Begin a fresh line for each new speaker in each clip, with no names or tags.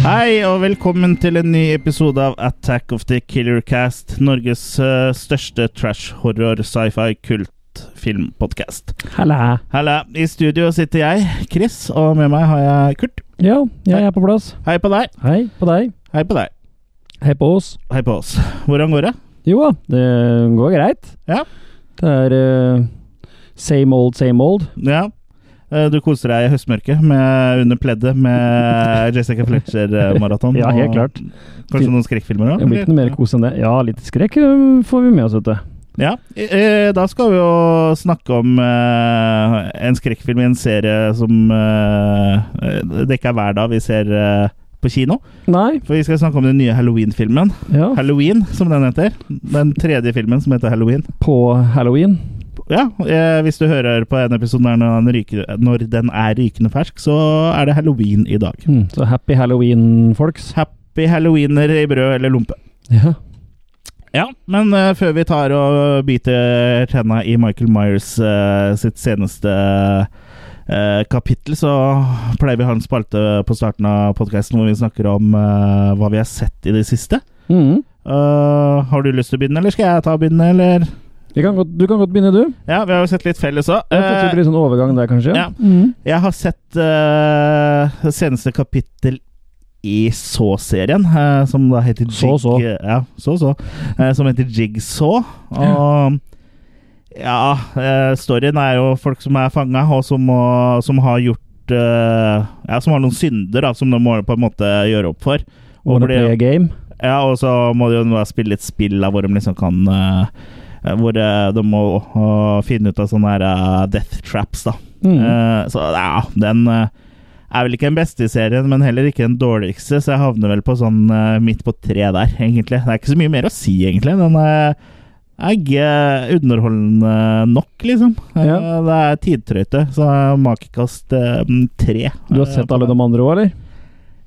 Hei og velkommen til en ny episode av Attack of the Killer Cast, Norges eh, største trash horror sci-fi kult filmpodcast.
Halla.
Halla, i studio sitter jeg, Chris, og med meg har jeg Kurt.
Ja, jeg er på plass.
Hei på deg.
Hei på deg.
Hei på deg.
Hei på oss.
Hei på oss. Hvordan går det?
Jo da, det går greit.
Ja.
Det er eh, same old, same old.
Ja. Eh, Du koser deg i høstmørket med under pleddet med Jessica Fletcher-maraton.
Ja, helt klart.
Kanskje noen skrekkfilmer òg?
Det blir ikke noe mer kos enn det. Ja, litt skrekk eh, får vi med oss, vet du.
Ja, eh, da skal vi jo snakke om eh, en skrekkfilm i en serie som eh, det ikke er hver dag vi ser eh, på kino.
Nei.
For vi skal snakke om den nye Halloween-filmen.
Ja,
Halloween, som den heter. Den tredje filmen som heter Halloween.
på halloween.
Ja, eh, hvis du hører på en episode der når den, ryker, når den er rykende fersk, så er det halloween i dag.
Hmm, så happy halloween, folks.
Happy halloweener i brød eller lompe.
Ja.
Ja, men eh, før vi tar og biter tenna i Michael Myers eh, sitt seneste eh, kapittel, så pleier vi å ha en spalte på starten av podkasten hvor vi snakker om eh, hva vi har sett i det siste.
Mhm.
Eh, har du lyst til å begynne, eller skal jeg ta og begynne, eller?
Vi kan godt, du kan godt begynne, du.
Ja, vi har jo sett litt felles Eh, òg.
Jeg tror det blir sånn overgang der, kanskje.
ja.
Mhm.
jeg har sett eh, det seneste kapittel i Så-serien, eh, som da heter Jig
Så, så.
Ja, så, så. Eh, som heter Jigsaw. Og ja, eh, storyen er jo folk som er fanga, og som, må, som har gjort eh, Ja, som har noen synder da, som de må på en måte gjøre opp for. Og
Wanna
blir-
play a game.
ja, og så må de jo nå spille et spill da, hvor de liksom kan eh, Hvor eh, de må eh, finne ut av sånne her eh, death traps, da.
Mhm.
Eh, så ja, den eh, er vel ikke den beste i serien, men heller ikke den dårligste, så jeg havner vel på sånn eh, midt på tre der, egentlig. Det er ikke så mye mer å si, egentlig. Den eh, er ikke underholdende nok, liksom. Eh,
Ja.
Det er tidtrøyte, så makekast eh, tre.
Du har
eh,
sett
på
alle
den.
de andre òg, eller?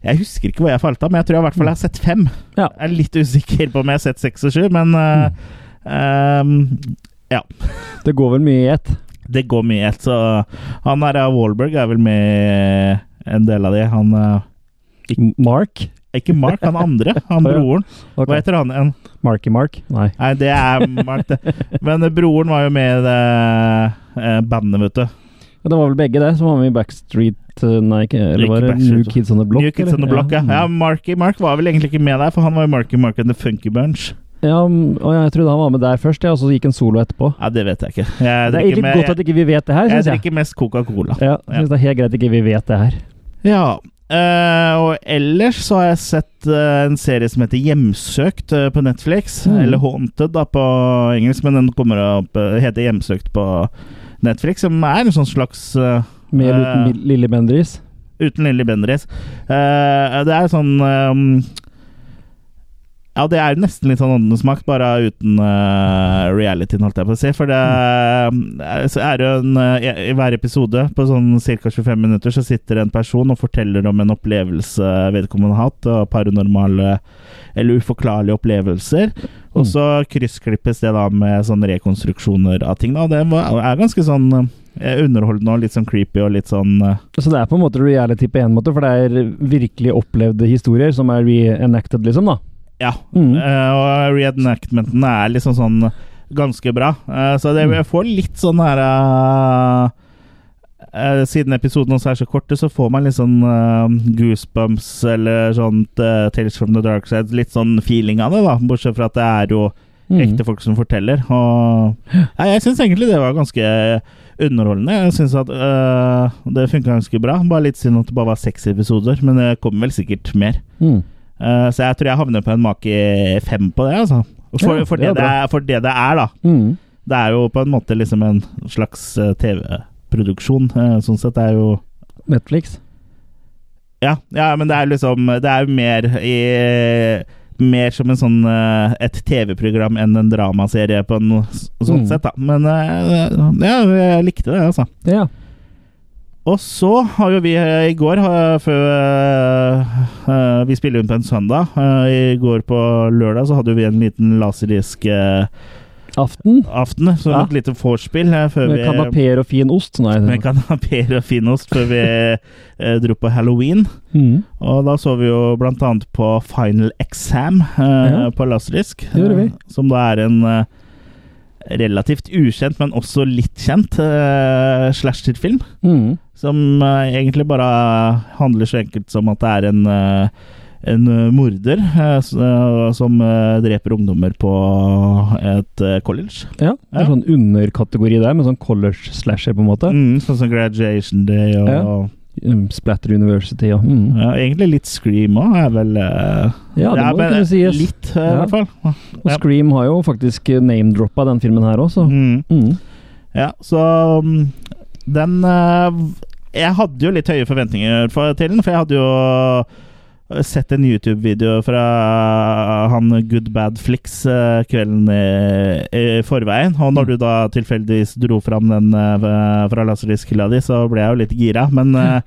Jeg husker ikke hvor jeg falt av, men jeg tror jeg i hvert fall har sett fem.
Ja.
Jeg er litt usikker på om jeg har sett seks og sju, men eh,
Mm.
ehm,
Det går vel mye i ett.
det går mye i ett. Så han her eh, Wahlberg er vel med i en del av de. Han eh,
Mark?
Ikke Mark, han andre. Han
Å, ja.
broren.
Ok.
Hva heter han igjen?
Marky Mark? Nei.
Nei, det er Mark, det. Men eh, broren var jo med i det eh, bandet, vet du.
Ja, det var vel begge det som var med i Backstreet eh, Nei, ikke- eller
Ikke
var det New
Backstreet.
Kids on the Block?
New Kids on the
eller?
Block, ja. ja. Marky Mark var vel egentlig ikke med der, for han var jo Marky Mark and The Funky Bunch.
Ja, mm, og jeg trodde han var med der først, ja, og så gikk en solo etterpå.
Ja, det vet jeg ikke. Jeg
Det er
drikker,
egentlig
mer-
godt at ikke vi vet det her,
jeg, jeg
syns jeg.
drikker mest Coca-Cola.
Ja, jeg synes det er helt greit at ikke vi vet det her.
Ja. eh, og ellers så har jeg sett eh, en serie som heter Hjemsøkt eh, på Netflix.
Mm.
Eller Haunted da på engelsk, men den kommer opp, eh, heter Hjemsøkt på Netflix. Som er en sånn slags eh,
Med
Eh.
liten Bill- Lille Bendris.
Uten Lilly Bendriss. Eh, det er sånn eh, Ja, det er nesten litt sånn Åndenes makt, bare uten eh, realityen, holdt jeg på å si. For det eh, så er det jo en eh, i- I hver episode, på sånn ca. 25 minutter, så sitter en person og forteller om en opplevelse vedkommende har hatt, og paranormale eller uforklarlige opplevelser. Og så kryssklippes det da med sånne rekonstruksjoner av ting. Da. Det var- er ganske sånn eh, underholdende og litt sånn creepy og litt sånn eh,
Så det er på en måte reality på en måte, for det er virkelig opplevde historier som er reenacted, liksom, da.
Ja,
Mm.
eh, og reenactmentene er liksom sånn ganske bra. Eh, så det, jeg får litt sånn her eh, eh, Siden episoden også er så korte, så får man litt sånn eh, goosebumps eller sånt eh, Tales from the dark side. Litt sånn feeling av det, da. Bortsett fra at det er jo
Mm.
ekte folk som forteller. Og ja, jeg syns egentlig det var ganske underholdende. Jeg syns at eh, det funka ganske bra. Bare litt synd at det bare var seks episoder, men det kommer vel sikkert mer.
Mm.
Eh, så jeg tror jeg havner på en make fem på det, altså. For,
Ja,
for,
det
det
er
det
bra.
er, for det det er, da.
Mm.
Det er jo på en måte liksom en slags eh, TV-produksjon. eh, sånn sett det er jo
Netflix.
ja, ja, men det er liksom Det er jo mer i Mer som en sånn eh, et TV-program enn en dramaserie, på en sånn
Mm.
sett, da. Men eh, ja, jeg likte det, altså.
Ja.
Og så har jo vi eh, i går, eh, før eh, eh, vi spiller inn på en søndag eh, I går på lørdag så hadde vi en liten laserdisk eh,
aften.
aften, som
Ja.
et lite vorspiel eh, før
Med
vi
kanapeer og fin ost. Nei.
med kanapeer og finost før vi eh, dro på halloween.
Mm.
Og da så vi jo blant annet på Final Exam eh,
Ja.
på Laserisk. eh,
Det gjorde vi.
som da er en eh, relativt ukjent, men også litt kjent eh, slasherfilm.
Mm.
Som eh, egentlig bare handler så enkelt som at det er en eh, en eh, morder eh, s- eh, som eh, dreper ungdommer på et eh, college.
Ja, det er
Ja.
sånn underkategori der, med sånn college slasher, på en måte.
Mm, sånn som Graduation Day og
Ja. Mm, Splatter University og mm.
ja, Egentlig litt Scream òg, er vel eh,
Ja, det må
men,
kunne sies.
Litt, eh, i
Ja.
hvert fall.
Og
ja.
Scream har jo faktisk eh, name-droppa den filmen her også.
Mm.
Mm.
Ja, så mm, den eh, v- Jeg hadde jo litt høye forventninger for, til den, for jeg hadde jo eh, sett en YouTube-video fra han Good Bad Flix eh, kvelden i, i forveien. Og
Mm.
når du da tilfeldigvis dro fram den eh, fra laserdiskhylla di, så ble jeg jo litt gira. Men
Mm.
eh,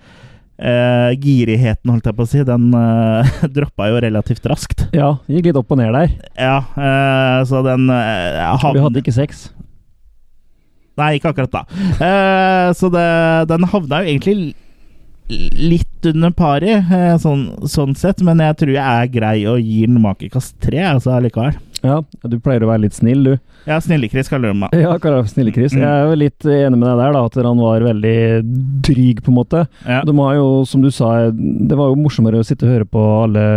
eh, girigheten, holdt jeg på å si, den eh, droppa jo relativt raskt.
Ja, gikk litt opp og ned der.
Ja, eh, så den eh,
Vi
havnet-
hadde ikke sex.
Nei, ikke akkurat da. Eh, så det, den havna jo egentlig l- litt under pari, eh, sånn, sånn sett. Men jeg tror jeg er grei og gir den makekast tre, altså allikevel.
Ja, du pleier å være litt snill, du.
Ja, Snille-Chris kaller du meg.
Ja, Karaf Snille-Chris.
Mm.
Jeg er jo litt eh, enig med deg der, da, at han var veldig dryg, på en måte.
Ja.
De har jo, som du sa, det var jo morsommere å sitte og høre på alle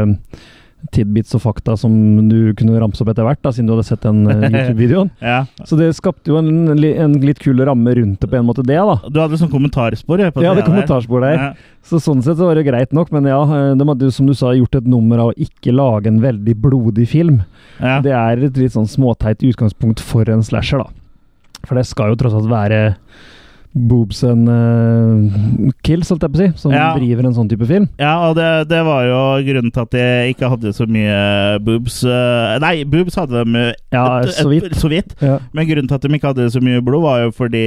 tidbits og fakta som du kunne ramse opp etter hvert, da, siden du hadde sett den eh, YouTube-videoen.
ja.
Så det skapte jo en, li- en litt kul ramme rundt det, på en måte, det, da.
Du hadde sånn kommentarspor jeg, på
Ja, det
der.
kommentarspor der.
Ja.
Så sånn sett så var det jo greit nok, men ja, eh, de hadde jo, som du sa, gjort et nummer av å ikke lage en veldig blodig film.
Ja.
Det er et litt sånn småteit utgangspunkt for en slasher, da. For det skal jo tross alt være boobs and eh, kills, holdt jeg på å si, som
Ja.
driver en sånn type film.
Ja, og det, det var jo grunnen til at jeg ikke hadde så mye boobs eh, Nei, boobs hadde de jo
Ja,
et- et-
så vidt.
Så vidt.
Ja.
Men grunnen til at de ikke hadde så mye blod, var jo fordi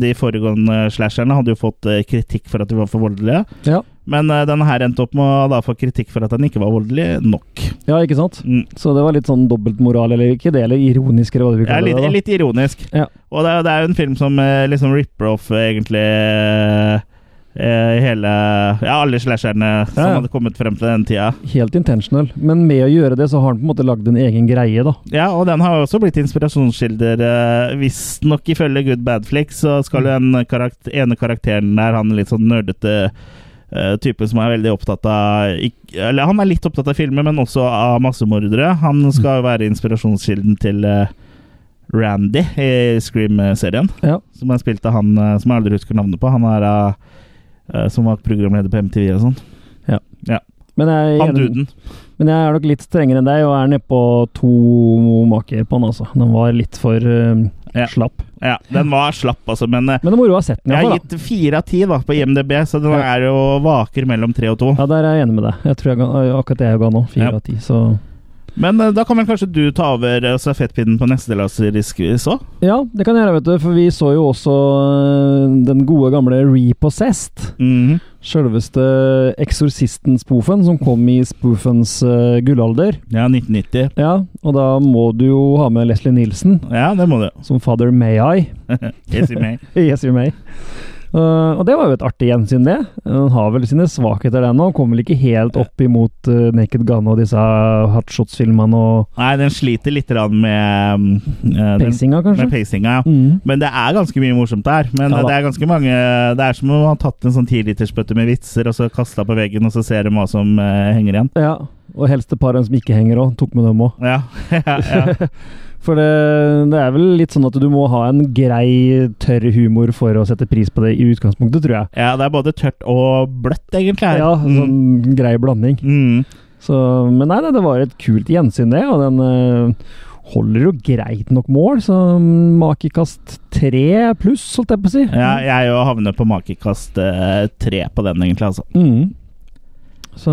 de foregående slasherne hadde jo fått eh, kritikk for at de var for voldelige.
Ja.
Men eh, denne her endte opp med å da få kritikk for at den ikke var voldelig nok.
ja, ikke sant?
Mm.
Så det var litt sånn dobbeltmoral, eller ikke det, eller ironisk, eller hva du vil
Det er
kalle
litt,
det. da.
litt ironisk.
Ja.
Og det er, det er jo en film som eh, liksom ripper off eh, egentlig eh, hele Ja, alle slasherne som
Ja, ja.
hadde kommet frem til den tida.
Helt intentional. Men med å gjøre det, så har han på en måte lagd en egen greie, da.
Ja, og den har jo også blitt inspirasjonskilder. eh, Visstnok ifølge Good Bad Flicks, så skal jo den karakter, ene karakteren der, han litt sånn nerdete eh, typen som er veldig opptatt av ikk- Eller han er litt opptatt av filmer, men også av massemordere. Han
Mm.
skal jo være inspirasjonskilden til eh, Randy i Scream-serien.
Ja.
Som er spilt av han eh, som jeg aldri husker navnet på. Han er av eh, som var programleder på MTV og sånn.
Men jeg, er
Han
enig-
duden.
men jeg er nok litt strengere enn deg, og er nedpå to maker på han, altså. Den var litt for eh,
Ja.
slapp.
Ja, den var slapp, altså, men eh,
Men det er moro å ha sett den,
Jeg har
iallfall.
gitt fire av ti da, på IMDb, så den
Ja.
er jo vaker mellom tre og to.
Ja, der er jeg enig med deg. Jeg tror jeg ga, eh, akkurat det jeg ga nå. Fire
Ja.
av ti. Så
Men eh, da kan vel kanskje du ta over eh, stafettpinnen på neste laserisk så?
Ja, det kan jeg gjøre, vet du. For vi så jo også øh, den gode gamle Repossessed.
Mhm.
Sjølveste Eksorsisten-spoofen som kom i spoofens øh, gullalder.
Ja, 1990.
Ja, og da må du jo ha med Leslie Nielsen
Ja, det må du.
som father May-I.
Yes, you may.
Yes, you may. Uh, og det var jo et artig gjensyn, det. Den har vel sine svakheter, den òg. Kommer vel ikke helt opp imot øh, Naked Gun og disse hotshots-filmene og
Nei, den sliter litt grann med mm, eh, den-
pacinga,
Med
kanskje.
pacinga, ja.
Mm.
Men det er ganske mye morsomt der. Men
Ja
eh, det
da.
er ganske mange Det er som om man har tatt en sånn tilitersbøtte med vitser og så kasta på veggen, og så ser du hva som eh, henger igjen.
Ja, og helst et par av dem som ikke henger òg. Tok med dem òg.
Ja. ja, ja.
For det, det er vel litt sånn at du må ha en grei, tørr humor for å sette pris på det i utgangspunktet, tror jeg.
ja, det er både tørt og bløtt, egentlig. her.
Ja,
Mm.
sånn grei blanding.
Mm.
Så, men nei, nei, det var et kult gjensyn, det. Og den eh, holder jo greit nok mål, så mm, makekast tre pluss, holdt jeg på å si.
Ja, jeg òg havner på makekast eh, tre på den, egentlig. altså.
Mm. Så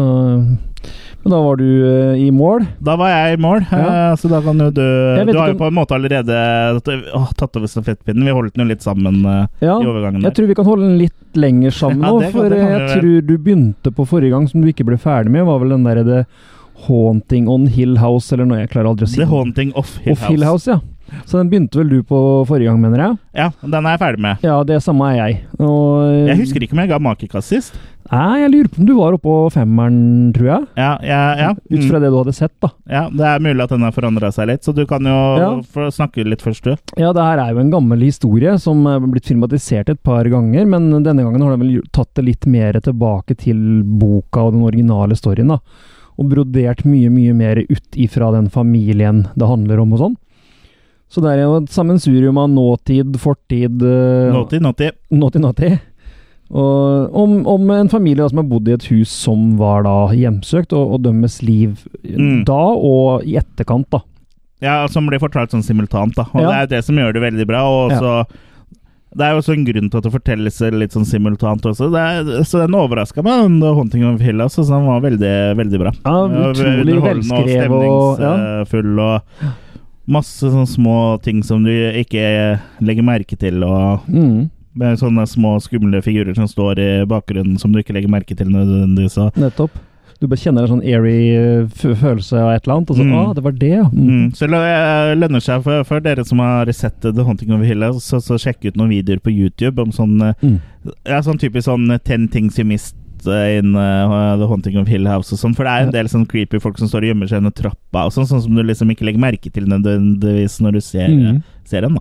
Men da var du eh, i mål.
Da var jeg i mål,
Ja.
eh, så da kan jo du
Jeg vet
Du har jo
ikke om-
på en måte allerede tatt- åh, tatt over stafettpinnen. Vi holdt den jo litt sammen eh,
Ja.
i overgangen.
Jeg
der.
tror vi kan holde den litt lenger sammen
Ja,
nå,
det kan-
for eh,
det kan
jeg
vi
tror du begynte på forrige gang som du ikke ble ferdig med, var vel den eh, derre The Haunting on Hill House, eller noe jeg klarer aldri å si.
The Haunting of Hill
Of
House.
Hill House, ja. Så den begynte vel du på forrige gang, mener jeg?
Ja, den er jeg ferdig med.
Ja, det samme er jeg. Og, eh,
Jeg husker ikke om jeg ga makekast sist.
Nei, jeg lurer på om du var oppå femmeren, tror jeg.
Ja, ja, ja.
Ut
Mm.
fra det du hadde sett, da.
ja. Det er mulig at den har forandra seg litt, så du kan jo
Ja.
få snakke litt først, du.
Ja, det her er jo en gammel historie som er blitt filmatisert et par ganger, men denne gangen har de vel tatt det litt mer tilbake til boka og den originale storyen, da. Og brodert mye, mye mer ut ifra den familien det handler om og sånn. Så det er jo et sammensurium av nåtid, fortid eh,
Nåti, nåti.
Nåti, nåti. Og om, om en familie da, som har bodd i et hus som var da hjemsøkt, og, og dømmes liv
Mm.
da og i etterkant, da.
Ja, som blir fortalt sånn simultant, da. Og
Ja.
det er jo det som gjør det veldig bra. Og
Ja.
også, Det er jo også en grunn til at det fortelles litt sånn simultant også. Det er, så den overraska meg, den The 'Haunting of Hill'. Altså, så den var veldig, veldig bra.
Ja, utrolig
Underholdende og
velskrevet og ja.
stemningsfull og masse sånne små ting som du ikke legger merke til. og
Mm,
med sånne små skumle figurer som står i bakgrunnen som du ikke legger merke til nødvendigvis. og-
nettopp. Du bare kjenner en sånn airy eh, fø- følelse av et eller annet, og så
Mm.
ah, det var det, ja. Mm.
Mm. Så det eh, lønner seg for, for dere som har sett The Haunting of Hill, så, så sjekk ut noen videoer på YouTube om sånn eh,
Mm.
Ja, sånn typisk sånn eh, 'Ten things you missed eh, in eh, The Haunting of Hill House' og sånn. For det er jo en del sånn creepy folk som står og gjemmer seg under trappa og sånn, sånn som du liksom ikke legger merke til nødvendigvis når du ser,
Mm.
ser dem, da.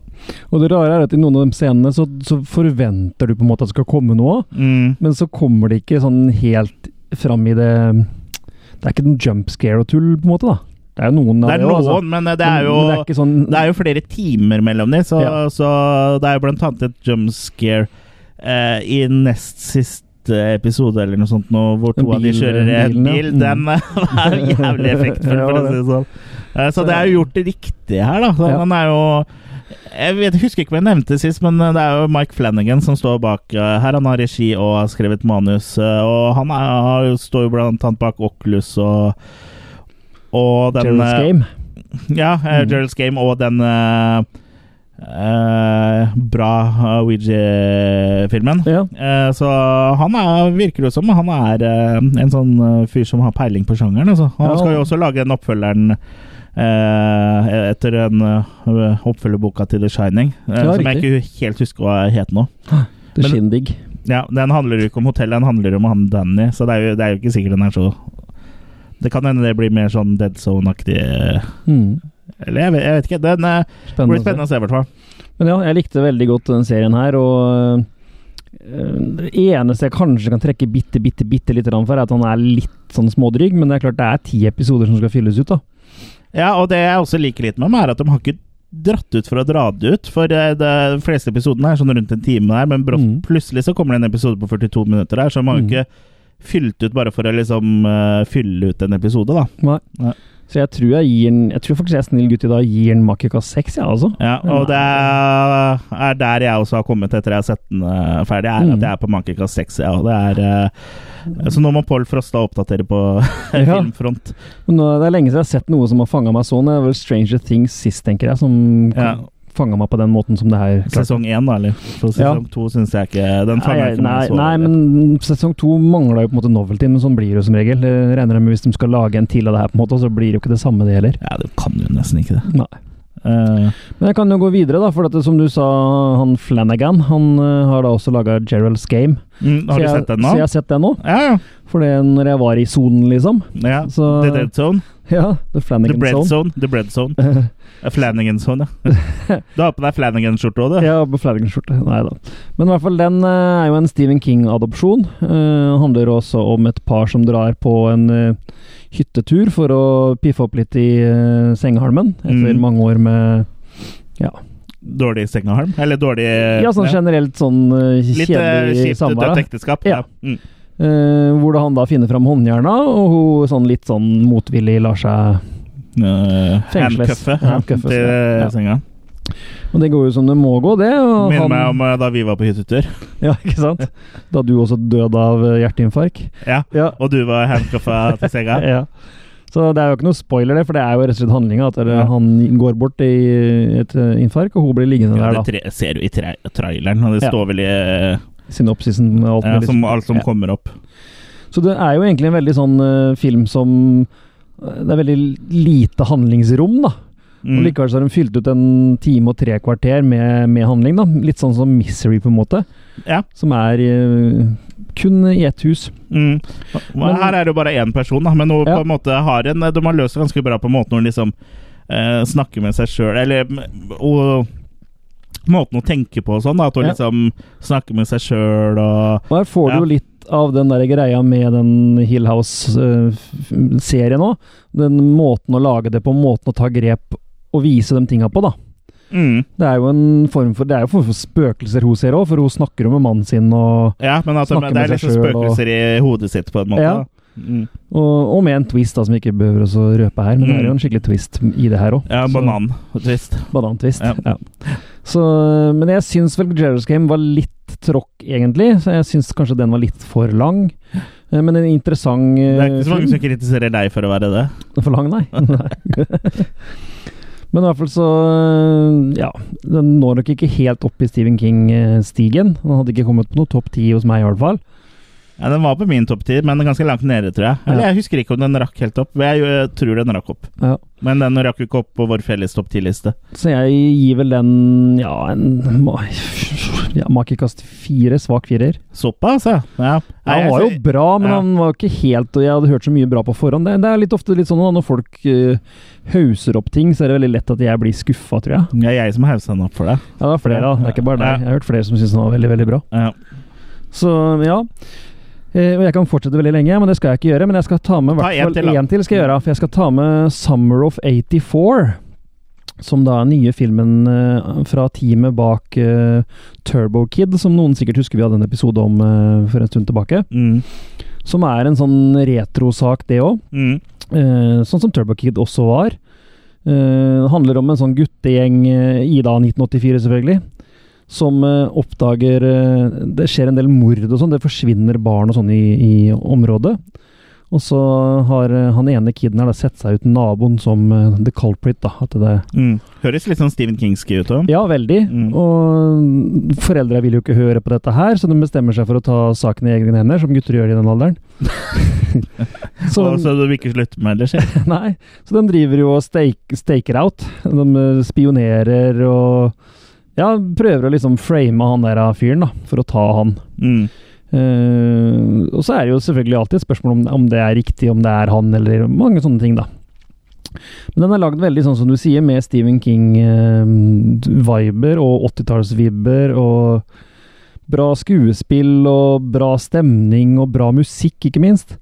Og det rare er at i noen av de scenene så, så forventer du på en måte at det skal komme noe,
Mm.
men så kommer det ikke sånn helt fram i det Det er ikke noen jump scare og tull, på en måte, da. Det er jo noen av
Det er
det,
noen,
også, altså.
men eh, det er jo
Men det er ikke sånn
Det er jo flere timer mellom dem, så,
Ja.
så det er jo blant annet et jump scare eh, i nest siste episode eller noe sånt nå, hvor to
En
av de
bil-
kjører i en
bilen, ja.
bil.
Mm.
Den eh, var jævlig effektfull,
Ja,
for å
det.
si det sånn. Eh, Så det er jo gjort riktig her, da. Så
Ja.
Den er jo jeg vet, husker ikke om jeg nevnte det sist, men eh, det er jo Mike Flanagan som står bak eh, her. Han har regi og har skrevet manus, eh, og han er, har jo- står jo blant annet bak Oculus og, og den
Gerald's
eh,
Game.
ja, eh,
Mm.
Gerald's Game og den eh, eh, bra eh, Ouija-filmen.
Ja.
Eh, så han er, virker jo som han er eh, en sånn eh, fyr som har peiling på sjangeren. Altså. Han
Ja.
skal jo også lage den oppfølgeren eh, etter en eh, oppfølgerboka til The Shining, eh,
Ja,
som jeg
riktig.
ikke helt husker hva het nå.
The
Men-
Shindig.
Ja, Den handler jo ikke om hotellet, den handler om han Danny, så det er jo, det er jo ikke sikkert den er så Det kan hende det blir mer sånn Dead Zone-aktig eh,
Mm.
Eller jeg vet, jeg vet ikke. Den eh, det
Spennende.
blir spennende å se, i hvert fall.
Men ja, jeg likte veldig godt den serien her, og øh, det eneste jeg kanskje kan trekke bitte, bitte, bitte litt rann for, er at han er litt sånn smådrygg, men det er klart det er ti episoder som skal fylles ut, da.
Ja, og det jeg også liker litt med dem, er at de har ikke dratt ut for å dra det ut. For eh, det, de fleste episodene er sånn rundt en time der, men brått,
Mm.
plutselig så kommer det en episode på 42 minutter der, så de har jo
Mm.
ikke fylt ut bare for å liksom eh, fylle ut en episode, da.
Nei.
Nei.
Så jeg tror jeg gir den Jeg tror faktisk jeg er snill gutt i dag gir den Makekast 6, jeg, ja, altså.
Ja, og det er, er der jeg også har kommet etter jeg har sett den eh, ferdig, er
Mm.
at jeg er på Mankekast 6. Ja, og det er, eh, så nå må Pål Frosta oppdatere på
Ja.
filmfront.
Men nå, det er lenge siden jeg har sett noe som har fanga meg sånn. Det er vel Stranger Things sist, tenker jeg, som
Ja.
ja. fanga meg på den måten som det her.
Sesong én, da, eller? For sesong to syns jeg ikke Den
Nei,
fanger ikke
nei,
meg så
nei, men sesong to mangla jo på en måte novelty, men sånn blir det jo som regel. Jeg regner med hvis de skal lage en til av det her, på en måte, så blir det jo ikke det samme, det heller.
Ja, du kan jo nesten ikke det.
Nei.
Eh,
Men jeg kan jo gå videre, da, for at, det- som du sa, han Flanagan han eh, har da også laga Gerald's Game.
mm, har
Så
du
jeg,
sett den nå?
Så jeg har sett den nå.
Ja, ja.
For det er når jeg var i sonen, liksom.
ja.
Så-
The Dead Zone.
Ja,
The
The Flanagan
Bread
Zone.
Zone. The Bread Zone. Eh, Flanagan Zone, ja. Du har på deg Flanagan-skjorte òg, du.
Ja, på Flanagan-skjorte. Nei da. Men i hvert fall, den eh, er jo en Stephen King-adopsjon. Uh, handler også om et par som drar på en eh, hyttetur for å piffe opp litt i eh, sengehalmen etter
Mm.
mange år med
Dårlig sengehalm. Eller dårlig
Ja, sånn generelt sånn eh,
Eh, Litt eh,
kjedelig
kjipt
samvær.
dødt
da.
ekteskap.
Ja.
Mm.
Eh, hvor da han da finner fram håndjerna, og hun sånn litt sånn motvillig lar seg
Eh,
Fengsles.
handcuffet, ja,
Handcuffet,
til eh,
ja. Ja.
senga.
Og det går jo som det må gå, det. Og
Minner
han,
meg om eh, da vi var på hyttetur,
Ja, ikke sant? Da du også døde av eh, hjerteinfarkt.
Ja,
Ja.
og du var handcuffa til senga.
ja. Så det er jo ikke noe spoiler, det, for det er jo rett og slett handlinga. At eh,
Ja.
han går bort i et eh, infarkt, og hun blir liggende
Ja, det
der, da.
tre, ser du i tra traileren, og det
Ja.
står vel i eh,
Synopsisen og alt
ja,
mulig.
som, alt som
Ja.
kommer opp.
Så det er jo egentlig en veldig sånn eh, film som eh, Det er veldig lite handlingsrom, da.
Mm.
Og Likevel så har de fylt ut en time og tre kvarter med, med handling. da Litt sånn som Misery, på en måte.
Ja.
Som er eh, kun i ett hus.
Mm. Men,
Men-
her er det jo bare én person, da, men hun
Ja.
på en måte har en De har løst det ganske bra på måten hun liksom eh, snakker med seg sjøl, eller mm, og, Måten hun tenker på og sånn, da, at hun
Ja.
liksom snakker med seg sjøl og
Og her får
Ja.
du jo litt av den der greia med den Hill House-serien òg. Den måten å lage det på, måten å ta grep og vise de tinga på, da.
mm,
Det er jo en form for, det er jo en form for spøkelser hun ser òg, for hun snakker jo med mannen sin og,
Ja, men altså,
Snakker
det
med
er
seg
liksom
selv og-
spøkelser i hodet sitt, på en måte.
Ja.
da. Mm.
og, og med en twist da, som vi ikke behøver oss å røpe her, men det
Mm.
er jo en skikkelig twist i det her òg.
Ja, banan. Trist.
Banantvist.
Ja.
Ja. Så, men jeg syns vel Gerald's Game var litt tråkk, egentlig. Så jeg syns kanskje den var litt for lang. Eh, Men en interessant eh,
Det er ikke så mange
film.
som kritiserer deg for å være det.
For lang, nei. Nei. Men i hvert fall så eh, Ja. Den når nok ikke helt opp i Stephen King-stigen. Den hadde ikke kommet på noe topp ti hos meg, i hvert fall.
Ja, den var på min topp 10, men ganske langt nede, tror jeg. Eller
Ja.
jeg husker ikke om den rakk helt opp, men jeg eh, tror den rakk opp.
Ja.
Men den rakk jo ikke opp på vår felles topp 10-liste.
Så jeg gir vel den ja, en ma- ja, Makekast fire, svak firer.
Såpass, ja. ja. Nei,
Han
jeg-
var jo bra, men
ja.
han var ikke helt Og jeg hadde hørt så mye bra på forhånd. Det, det er litt ofte litt sånn da, når folk eh, hauser opp ting, så er det veldig lett at jeg blir skuffa, tror jeg.
Det er jeg som hauser den opp for deg.
Ja, det er flere, da. Det er ikke bare
Ja.
deg. Jeg har hørt flere som syns den var veldig, veldig bra.
Ja.
Så ja. Eh, og Jeg kan fortsette veldig lenge, men det skal jeg ikke gjøre. Men jeg skal ta med i
Ta en
hvert
til,
fall
da.
én til. skal jeg gjøre, For jeg skal ta med 'Summer of 84'. Som da er den nye filmen eh, fra teamet bak eh, Turbo Kid, som noen sikkert husker vi hadde en episode om eh, for en stund tilbake.
Mm.
Som er en sånn retrosak, det òg.
Mm.
Eh, sånn som Turbo Kid også var. Eh, det handler om en sånn guttegjeng, eh, Ida 1984 selvfølgelig, som eh, oppdager eh, Det skjer en del mord og sånn, det forsvinner barn og sånn i, i området. Og så har eh, han ene kiden her da sett seg ut naboen som eh, the culprit. da, at det
Mm. Høres litt sånn Stephen Kingski ut òg.
ja, veldig.
Mm.
Og foreldra vil jo ikke høre på dette her, så de bestemmer seg for å ta saken i egne hender, som gutter gjør i den alderen.
Så,
de-
så du vil ikke slutte med det, eller?
Nei, så de driver jo og stake, staker out. De eh, spionerer og ja, prøver å liksom frame han der eh, fyren, da, for å ta han.
Mm.
Eh, og så er det jo selvfølgelig alltid et spørsmål om, om det er riktig, om det er han, eller mange sånne ting, da. Men den er lagd veldig sånn som du sier, med Stephen King-viber og 80-tallsvibber og bra skuespill og bra stemning og bra musikk, ikke minst.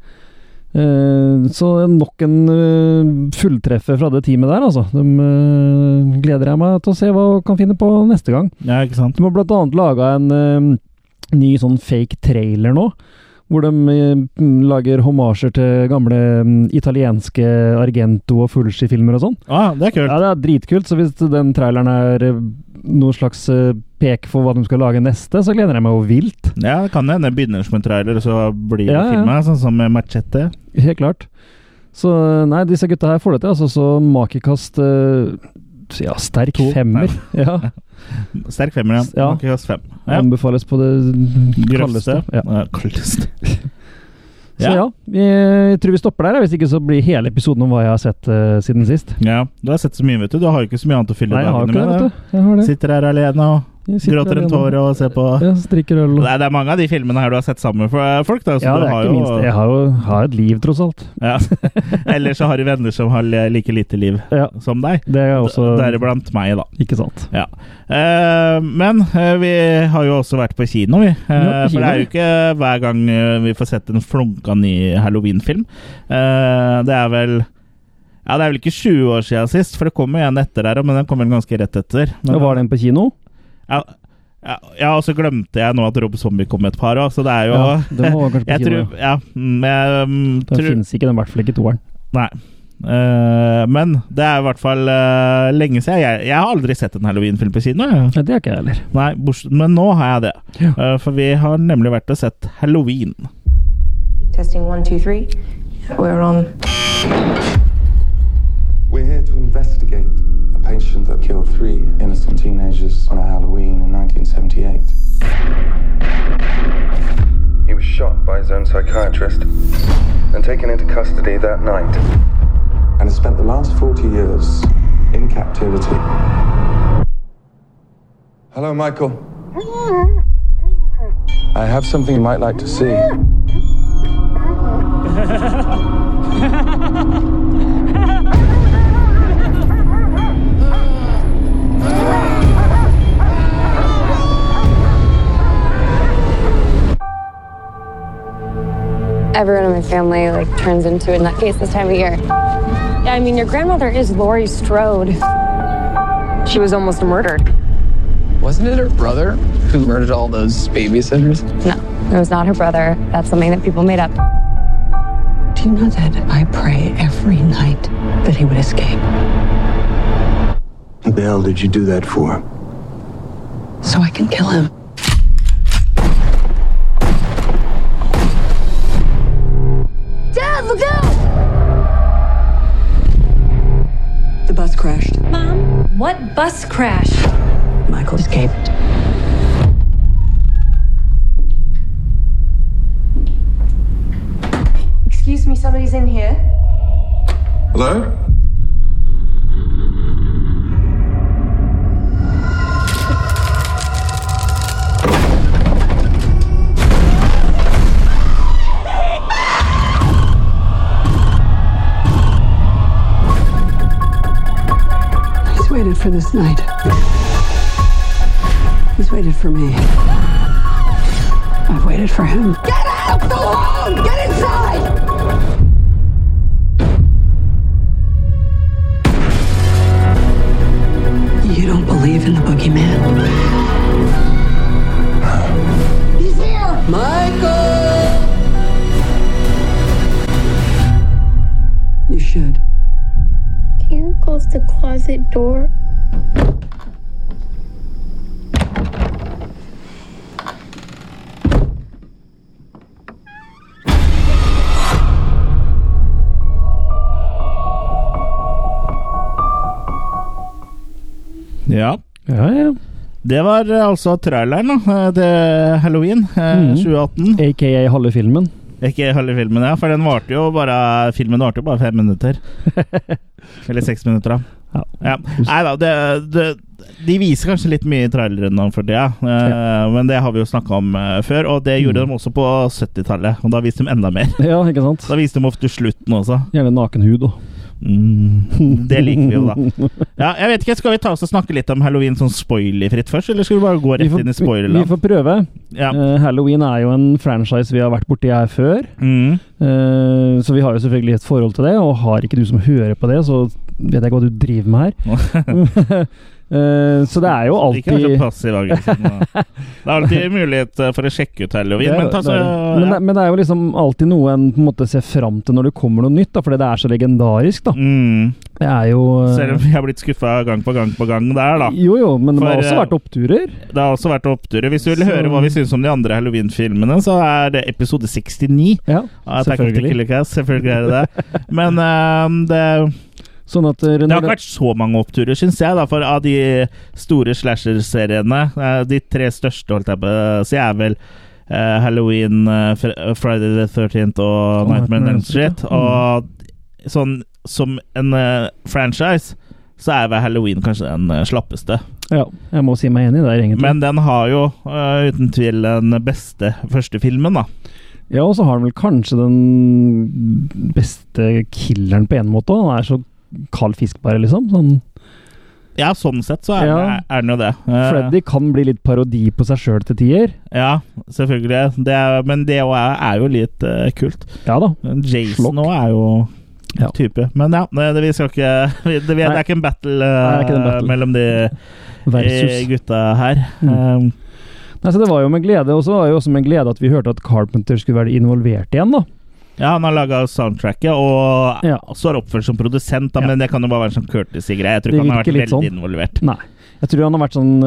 Eh, så nok en eh, fulltreffer fra det teamet der, altså. De eh, gleder jeg meg til å se hva de kan finne på neste gang.
Ja, ikke sant?
De har blant annet laga en eh, ny sånn fake trailer nå. Hvor de eh, lager homasjer til gamle mm, italienske Argento og Fulci-filmer og sånn.
ah, det er kult.
Ja, det er dritkult, så hvis den traileren er eh, noe slags eh, pek for hva de skal lage neste, så gleder jeg meg jo vilt.
Ja, det kan hende. Begynner som en trailer, og så blir det
Ja, ja.
filma. Sånn som med Machete.
Helt klart. Så eh, nei, disse gutta her får det til, altså. Så makekast eh, ja, sterk
To.
femmer. Ja,
Sterk femmer, ja.
Ja.
Makekast fem. Ja.
anbefales på det
Grøvste.
kaldeste. Ja.
Ja, kaldeste.
Så ja, vi, jeg tror vi stopper der. ja. Hvis ikke så blir hele episoden om hva jeg har sett eh, siden sist.
Ja, du har sett så mye, vet du. Du har jo ikke så mye annet å fylle
Nei, jeg har jo
dagene
ikke det,
med.
vet du. Jeg har
da.
det.
Sitter her alene og
Jeg sitter
gråter en
alene.
tåre og ser på
Ja, drikker øl og
Nei, det er mange av de filmene her du har sett sammen med folk, da. Så
Ja,
du
det er
har
ikke
jo,
minst det. Jeg har jo har et liv, tross alt.
Ja. Ellers så har du venner som har like lite liv
Ja,
som deg.
det er også
Deriblant meg, da.
Ikke sant.
Eh, men eh, vi har jo også vært på kino, vi. Eh,
Ja,
for
på kino,
det er jo
ja.
ikke hver gang eh, vi får sett en flunka ny Halloween-film. Eh, det er vel Ja, det er vel ikke 20 år siden sist, for det kommer jo en etter der òg, men den kommer ganske rett etter. Men,
Og var den på kino?
Ja, ja, ja, og så glemte jeg nå at Rob Zombie kom med et par òg, så det er jo
Ja, den var kanskje på
Jeg
kino.
tror
ja.
Ja. mm, Jeg mm,
Den
tror
finnes ikke, den i hvert fall ikke toeren.
Nei. Eh, men det er i hvert fall eh, lenge siden. Jeg, jeg har aldri sett en halloweenfilm på kino. Jeg.
Nei, det er ikke jeg heller.
Nei, bors- men nå har jeg det.
Ja.
Eh, for vi har nemlig vært og sett Halloween.
Testing one, two, three. We're on.
We're here to investigate a patient that killed three innocent teenagers on a Halloween in 1978. He was shot by his own psychiatrist and taken into custody that night. And has spent the last 40 years in captivity. Hello, Michael. I have something you might like to see.
everyone in my family like turns into a nutcase this time of year. Yeah, I mean, your grandmother is Laurie Strode. She was almost murdered.
Wasn't it her brother who murdered all those babysitters?
No, it was not her brother. That's something that people made up.
Do you know that I pray every night that he would escape?
What the hell did you do that for?
So I can kill him.
Dad, look out!
The bus crashed.
Mom, what bus crash?
Michael escaped.
Excuse me, somebody's in here.
Hello?
He's waited for this night. He's waited for me. I've waited for him.
Get out! Go home! Get inside!
You don't believe in the boogeyman.
He's here!
Michael! You should.
Can you close the closet door?
Ja.
Ja, ja.
Det var eh, altså traileren da, eh, til Halloween eh,
Mhm.
2018.
Aka halve filmen.
Ikke hele filmen, ja, for den varte jo bare Filmen varte jo bare fem minutter. Eller seks minutter, da.
Ja.
Ja. Nei da, det, det, de viser kanskje litt mye i traileren nå for tida, eh, men det har vi jo snakka om eh, før. Og det
Mm.
gjorde de også på 70-tallet, og da viste de enda mer.
Ja, ikke sant?
Da viste de ofte slutten også.
Gjerne naken hud òg.
Mm, det liker vi jo, da. Ja, jeg vet ikke, Skal vi ta oss og snakke litt om halloween sånn spoilerfritt først, eller skal vi bare gå
Vi,
rett
får-
inn i
vi, vi
spoilerland?
får prøve.
Ja.
Eh, Halloween er jo en franchise vi har vært borti her før.
Mm.
Eh, så vi har jo selvfølgelig et forhold til det, og har ikke du som hører på det, så vet jeg ikke hva du driver med her. Eh, så det er jo alltid
Ikke vær så passiv, Agnes. Det er alltid mulighet eh, for å sjekke ut
Det
halloween,
er-
men ta så
det er- men,
ja.
det, men det er jo liksom alltid noe en på en måte ser fram til når det kommer noe nytt, da, fordi det er så legendarisk. da.
mm.
Det er jo eh,
Selv om vi har blitt skuffa gang på gang på gang der, da.
Jo jo, men det har
For,
også
eh,
vært oppturer.
Det har også vært oppturer. Hvis du vil
Så-
høre hva vi syns om de andre halloween-filmene, så er det episode 69.
Ja,
av Attack of the
selvfølgelig.
Killer Cast. Selvfølgelig er det det. Men eh, det,
Sånn at eh,
det har
når
ikke vært så mange oppturer, syns jeg, da, for av de store slasher-seriene eh, De tre største, holdt jeg på å si, er vel eh, Halloween, eh, Fr- eh, Friday the 13th og
Og
Nightmare on
Nightmare on
Elm Street.
Elm Street, ja. Mm.
Og sånn som en eh, franchise, så er vel Halloween kanskje den eh, slappeste.
Ja, jeg må si meg enig der, egentlig.
Men den har jo eh, uten tvil den beste første filmen, da.
ja, og så har han vel kanskje den beste killeren på en måte. Han er så kald fisk, bare, liksom. Sånn,
Ja, sånn sett så er,
Ja.
er den jo det. Eh,
Freddy kan bli litt parodi på seg sjøl til tider.
Ja, selvfølgelig. Det er, men det òg er, er jo litt eh, kult.
Ja da.
Jason
Slokk.
òg er jo
Ja.
type. Men ja, nei, det, vi skal ikke vi, det, vi, det
Nei.
er ikke en battle,
Nei, det er ikke en
eh,
battle.
mellom de eh,
Versus.
gutta her. Eh,
Mm. Nei, så Det var jo med glede, og så var det jo også med glede at vi hørte at Carpenter skulle være involvert igjen, da.
ja, han har laga soundtracket og
Ja.
står oppført som produsent, da,
Ja.
men det kan jo bare være en sånn courtesy-greie. Jeg tror
Det
ikke han har vært
virker
veldig
litt sånn.
involvert.
Nei. Jeg tror han har vært sånn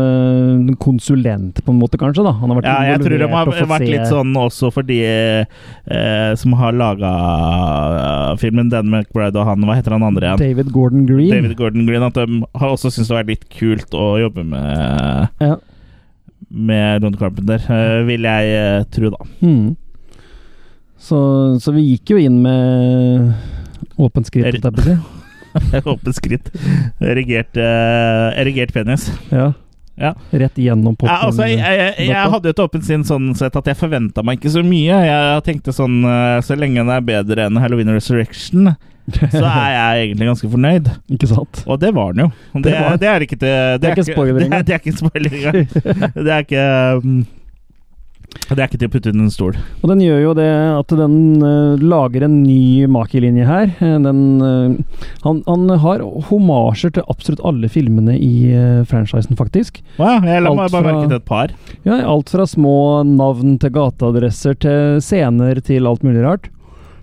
øh, konsulent, på en måte, kanskje. da. Han har vært
Ja, jeg tror de
involvert
har
og fått
vært
se-
litt sånn også for de eh, som har laga filmen Dan McBride og han Hva heter han andre igjen?
David Gordon Green.
David Gordon Green at de har også syntes det har vært litt kult å jobbe med
Ja.
Med Ron Carpenter, eh, vil jeg eh, tro, da.
Mm. Så, så vi gikk jo inn med åpent skritt,
Er-
holdt jeg på å si.
Åpent skritt. Erigert, eh, erigert penis.
Ja.
Ja.
Rett gjennom potten.
Ja, altså, jeg, jeg, jeg hadde et åpent sinn sånn sett at jeg forventa meg ikke så mye. Jeg tenkte sånn eh, Så lenge den er bedre enn Halloween Resurrection, så er jeg egentlig ganske fornøyd.
Ikke sant?
Og det var den jo. Det, det,
var den.
er ikke til Det,
er ikke spoiler
det, er-
engang.
det er ikke spoiler engang. Det er ikke mm, Det er ikke til å putte under en stol.
Og den gjør jo det at den eh, lager en ny makelinje her. Eh, Den, eh, han, han har homasjer til absolutt alle filmene i eh, franchisen, faktisk.
Wow, jeg la
Alt
meg bare
fra-
merke til et par.
Ja, alt fra små navn til gateadresser til scener til alt mulig rart.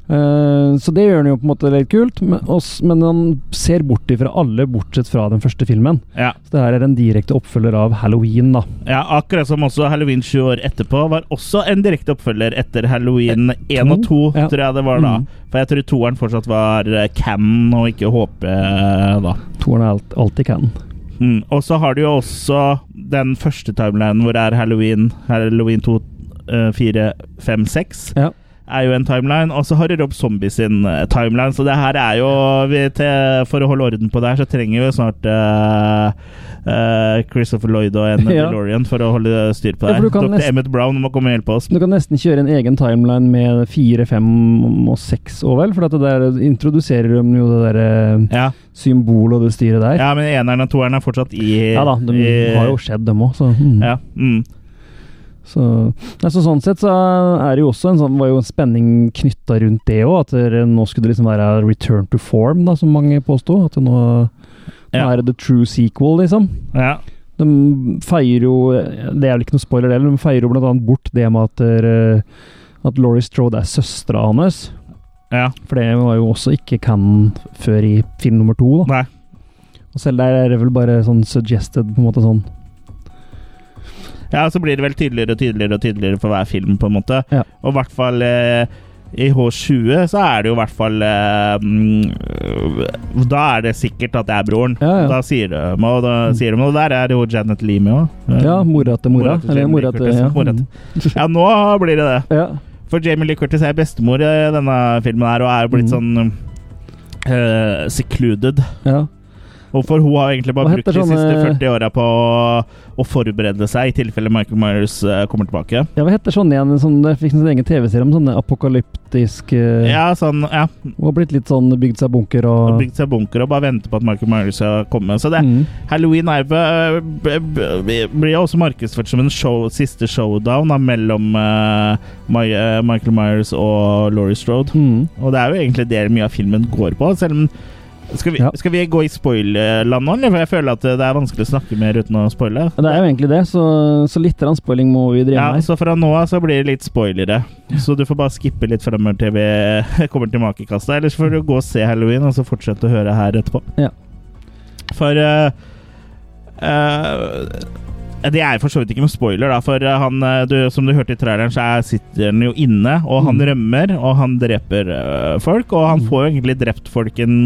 Eh, Så det gjør den jo på en måte litt kult, men, oss- men han ser bort ifra alle bortsett fra den første filmen.
Ja,
Så det her er en direkte oppfølger av Halloween, da.
ja Akkurat som også Halloween 20 år etterpå var også en direkte oppfølger etter Halloween 1 og 2,
to? Ja.
tror jeg det var da.
Mm.
For jeg tror toeren fortsatt var eh, Can og ikke HP eh, da.
Toeren er alt, alltid canon.
Mm. Og så har du jo også den første timelinen hvor det er Halloween, Halloween 2, eh, 4, 5, 6.
Ja.
Er jo en timeline. Og så har du Rob Zombie sin eh, timeline, så det her er jo vi, til, For å holde orden på det her, så trenger vi jo snart eh, eh, Christopher Lloyd og en
Ja.
DeLorean for å holde styr på
Ja,
det. her.
for du kan
Dr.
nesten-
Emmett Brown må komme og hjelpe oss.
Du kan nesten kjøre en egen timeline med fire, fem og seks og vel, for at det der introduserer de jo det derre
Ja,
symbolet og det styret der.
ja men eneren og toeren er fortsatt i
Ja, da, de
i-
har jo skjedd, dem òg, så, mm.
ja, mm.
så Nei, så Sånn sett så er det jo også en sånn, var jo en spenning knytta rundt det òg, at det, nå skulle det liksom være return to form, da, som mange påsto. At det nå, nå
Ja.
er det the true sequel, liksom.
ja.
De feier jo Det er vel ikke noe spoiler, det, men de feier jo blant annet bort det med at, eh, at Laurie Strode er søstera hans.
Ja.
For det var jo også ikke canon før i film nummer to. Da.
Nei.
Og selv der er det vel bare sånn suggested, på en måte sånn.
Ja, så blir det vel tydeligere og tydeligere og tydeligere for hver film, på en måte.
Ja.
Og i hvert fall eh, i H20 så er det jo i hvert fall eh, mm, Da er det sikkert at det er broren.
Ja, ja.
Da sier de og da sier de, og der er jo Janet Leamy òg.
Ja, mora til mora.
mora til
Eller
Jamie
mora til
Curtis,
ja.
mora til- ja, nå blir det det.
ja.
For Jamie Lee Curtis er bestemor i denne filmen her, og er jo blitt
Mm.
sånn eh, secluded.
ja.
Og for hun har egentlig bare
Hva
brukt
heter
de siste
sånne-
40 åra på å, å forberede seg, i tilfelle Michael Myers eh, kommer tilbake.
ja, hva heter sånn igjen? Sånn, det fikk sin egen TV-serie om sånne apokalyptisk eh,
Ja, sånn, ja.
Hun har blitt litt sånn bygd seg bunker
Og
og
bygd seg bunker og bare venter på at Michael Myers skal komme. Så det,
Mm.
Halloween er, jo b- b- b- blir jo også markedsført som en show, siste showdown da, mellom eh, My, eh, Michael Myers og Laurie Strode.
Mm.
Og det er jo egentlig det mye av filmen går på. Selv om skal vi,
Ja.
skal vi gå i spoilerland nå, eller? For jeg føler at eh, det er vanskelig å snakke mer uten å spoile.
Ja, Det er jo egentlig det, så, så litt grann spoiling må vi drive
Ja,
med. her.
så fra nå av så blir det litt spoilere. Så du får bare skippe litt fremover til vi kommer til makekasta. Ellers får du gå og se Halloween, og så fortsette å høre her etterpå.
Ja.
For eh, eh, Det er for så vidt ikke noen spoiler, da. For eh, han, eh, du, som du hørte i traileren, så er, sitter han jo inne, og han
Mm.
rømmer, og han dreper eh, folk. Og han
Mm.
får jo egentlig drept folk en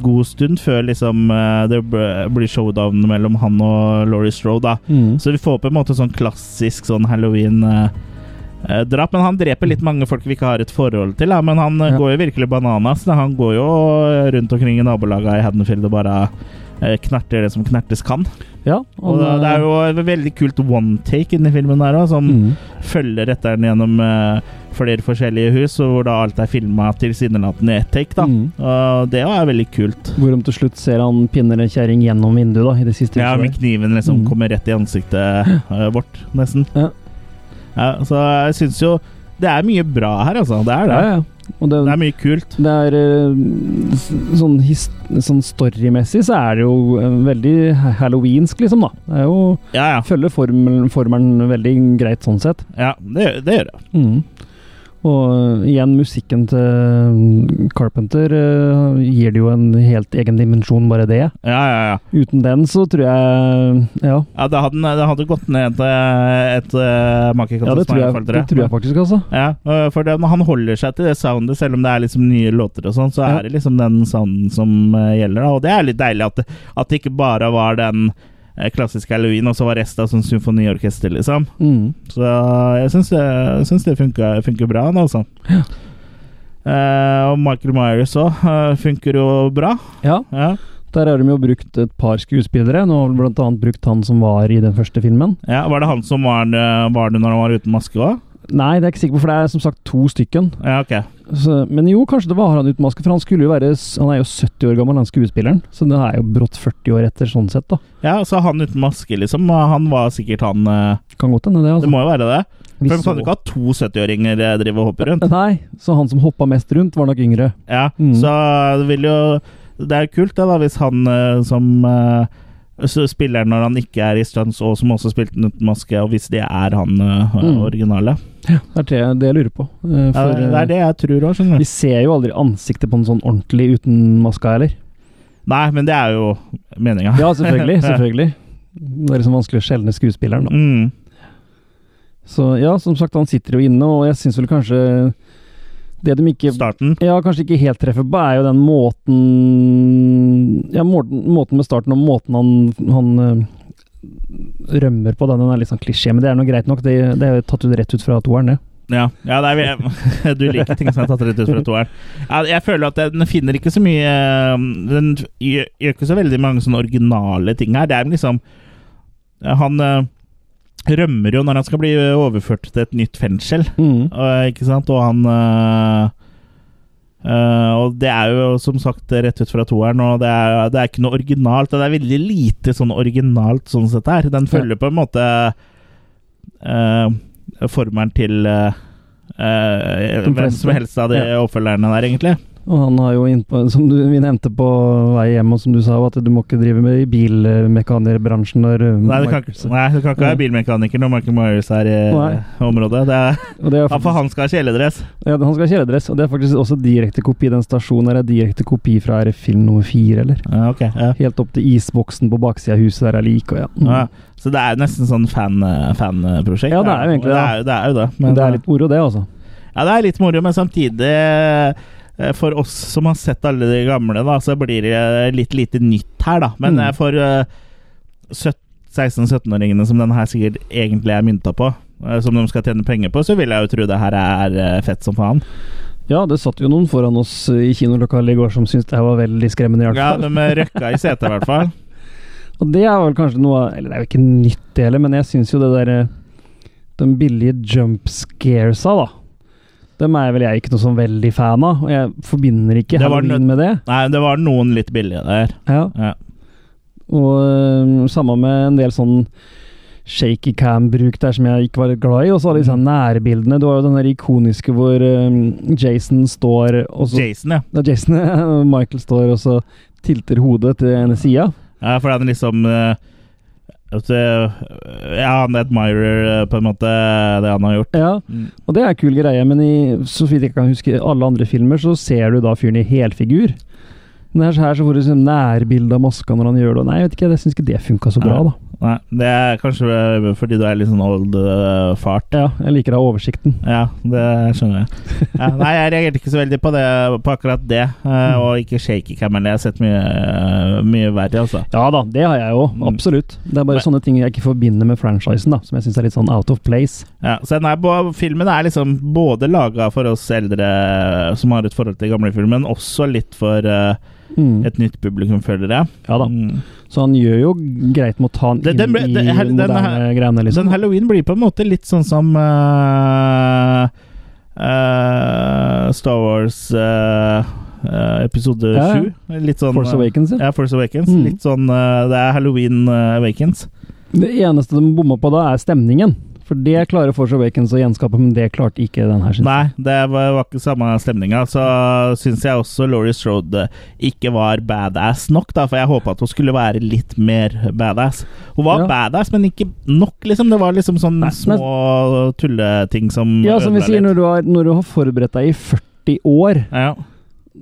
god stund før liksom eh, det bl- blir showdown mellom han og Laurie Strode, da.
Mm.
Så vi får på en måte sånn klassisk sånn halloween-drap. Men han dreper litt mange folk vi ikke har et forhold til. Da. Men han eh,
Ja.
går jo virkelig bananas. Da. Han går jo rundt omkring i nabolaga i Haddonfield og bare eh, knerter det som knertes kan.
Ja,
Og da- det er jo et veldig kult one take inni filmen der òg, som
mm.
følger etter den gjennom eh, flere forskjellige hus, og hvor da alt er filma tilsynelatende i ett take. Da.
Mm.
Og det er veldig kult.
Hvor de til slutt ser han pinner en kjerring gjennom vinduet, da, i det siste
Ja, med
huset.
kniven liksom
Mm.
kommer rett i ansiktet eh, vårt, nesten.
Ja.
Ja, så jeg syns jo Det er mye bra her, altså. Det er det.
der. Ja, ja. Og det,
Det er mye kult.
det er eh, s- sånn, his- sånn storymessig så er det jo eh, veldig ha- halloweensk, liksom, da. Det er jo
Ja, ja.
Følger formel, formelen veldig greit sånn sett.
ja det, gjør- det gjør det.
Og eh, igjen, musikken til mm, Carpenter eh, gir det jo en helt egen dimensjon, bare det.
Ja, ja, ja.
Uten den så tror jeg Ja,
ja det, hadde, det hadde gått ned til et uh, makekast.
ja det, tror jeg, det tror jeg faktisk, altså.
Ja, øh, for det, når han holder seg til det soundet, selv om det er liksom nye låter og sånn, så
Ja.
er det liksom den sounden som øh, gjelder, da. Og det er litt deilig at det, at det ikke bare var den øh, klassiske halloween, og så var resten av sånn symfoniorkester, liksom.
Mm.
Så jeg syns det, jeg syns det funker, funker bra, nå, altså. Eh, og Michael Myers òg funker jo bra.
Ja,
Ja,
der har de jo brukt et par skuespillere. Nå har de blant annet brukt han som var i den første filmen.
ja. Var det han som var, eh, var det når han var uten maske òg?
Nei, det er jeg ikke sikker på, for det er som sagt to stykken.
Ja, ok.
Så, men jo, kanskje det var han uten maske, for han, skulle jo være, s- han er jo 70 år gammel, han skuespilleren. Så det er jo brått 40 år etter, sånn sett, da.
Ja, så han uten maske, liksom. Han var sikkert han eh,
Kan godt hende, det.
Det
Altså.
må jo være det.
Vi
For de kan
så-
jo ikke ha to 70-åringer eh, drive og hoppe rundt.
Nei, så han som hoppa mest rundt, var nok yngre.
Ja,
Mm.
Så det vil jo Det er jo kult, det, da, hvis han eh, som eh, s- spiller når han ikke er i stunts, og som også spilte den uten maske, og hvis det er han eh,
Mm.
originale.
Det er det, det jeg lurer på.
Ja,
eh, For,
det er det jeg tror òg,
eh,
skjønner
Vi
du.
ser jo aldri ansiktet på den sånn ordentlig uten maska heller.
Nei, men det er jo meninga.
Ja, selvfølgelig. selvfølgelig. Det er liksom vanskelig å skjelne skuespilleren, da.
Mm.
Så ja, som sagt, han sitter jo inne, og jeg syns vel kanskje Det de ikke
Starten.
ja, kanskje ikke helt treffer på, er jo den måten Ja, måten, måten med starten og måten han, han eh, rømmer på. da. Den er litt sånn klisjé, men det er nå greit nok. Det, det er jo tatt ut rett ut fra toeren, det.
Ja, ja det er, vi- du liker ting som er tatt rett ut fra toeren. Ja, jeg føler at den finner ikke så mye eh, Den gjør gjør ikke så veldig mange sånne originale ting her. Det er liksom eh, Han eh, rømmer jo når han skal bli overført til et nytt fengsel, eh, ikke sant? Og han eh, eh, og det er jo som sagt rett ut fra toeren, og det er, det er ikke noe originalt. og Det er veldig lite sånn originalt sånn sett her. Den følger på en måte eh, formelen til eh, eh,
De
hvem
fleste.
som helst av de oppfølgerne der, egentlig.
Og han har jo innpå, som du, vi nevnte på vei hjem, og som du sa, at du må ikke drive med i bilmekanikerbransjen når eh,
Nei, du kan, ikke-
Marcus-
nei, du kan ikke være bilmekaniker når Michael Myers er i eh,
Nei.
området. Det er,
Og det er
ja, for han skal ha kjeledress.
Ja, han skal ha kjeledress, og det er faktisk også direkte kopi. Den stasjonen her er direkte kopi fra er det film nummer fire, eller?
Ja, ok, ja.
Helt opp til isboksen på baksida av huset der er lik, og ja. Mm.
Ja, så det er nesten sånn fan- fan-prosjekt.
Ja, det er jo egentlig
det.
det.
Er, jo- det er jo det.
Men det er litt moro, det, altså.
Ja, det er litt moro, men samtidig eh, for oss som har sett alle de gamle, da, så blir det eh, litt lite nytt her, da. Men
Mm.
eh, for eh, søt- 16-17-åringene som den her sikkert egentlig er mynta på, eh, som de skal tjene penger på, så vil jeg jo tro det her er eh, fett som faen.
Ja, det satt jo noen foran oss eh, i kinolokalet i går som syntes det her var veldig skremmende, i hvert
Ja,
fall.
de røkka i setet, i hvert fall.
Og det er vel kanskje noe Eller det er jo ikke nytt, det heller, men jeg syns jo det derre Den billige jump scaresa, da. Dem er vel jeg ikke noe sånn veldig fan av, og jeg forbinder ikke
Det var nød-
halloween med det.
Nei, det var noen litt billige der.
Ja.
Ja.
Og øhm, samme med en del sånn shaky cam-bruk der som jeg ikke var litt glad i. Og så alle disse
Mm.
her nærbildene. Du har jo den der ikoniske hvor øhm, Jason står og så,
Jason, ja.
Nei, Jason, Michael står og så tilter hodet til ene sida.
ja for han liksom eh, at, eh, Ja, han admirer eh, på en måte det han har gjort.
Ja,
Mm.
og det er en kul greie, men i, så vidt jeg kan huske alle andre filmer, så ser du da fyren i helfigur. Men her, her så får du sånn nærbilde av maska når han gjør det. og Nei, jeg vet ikke, jeg syns ikke det funka så bra,
Nei.
da.
Nei, det er kanskje eh, fordi du er litt sånn old eh, fart.
Ja, jeg liker da oversikten.
Ja, det skjønner jeg. Ja, nei, jeg reagerte ikke så veldig på, det, på akkurat det. eh,
Mm.
og ikke shaky camel. Jeg har sett mye, eh, mye verre, altså.
Ja da, det har jeg jo.
Mm.
Absolutt. Det er bare
Men-
sånne ting jeg ikke forbinder med franchisen, da, som jeg syns er litt sånn out of place.
Ja, så den er, bo- filmen er liksom både laga for oss eldre eh, som har et forhold til gamlefilmen, også litt for eh,
Mm.
et nytt publikum, føler jeg.
Ja da.
Mm.
Så han gjør jo greit med å ta han
Det-
inn
den ble- det-
i
her- den
moderne greiene,
Den
liksom.
halloween blir på en måte litt sånn som eh, eh, Star Wars eh, eh, episode
Ja, ja.
7. Litt sånn
Force
eh,
Awakens, ja.
Ja, Force Awakens.
Mm.
Litt sånn eh, Det er Halloween eh, Awakens.
Det eneste de bomma på da, er stemningen. For det klarer Force Awakens å gjenskape, men det klarte ikke den her, syns jeg.
Nei, det var, var ikke samme stemninga. Så syns jeg også Laurie Strode ikke var badass nok, da. For jeg håpa at hun skulle være litt mer badass. Hun var
Ja.
badass, men ikke nok, liksom. Det var liksom sånne
men-
små tulleting som
Ja, som vi
ødela
sier,
litt.
når du, har, når du har forberedt deg i 40 år,
Ja,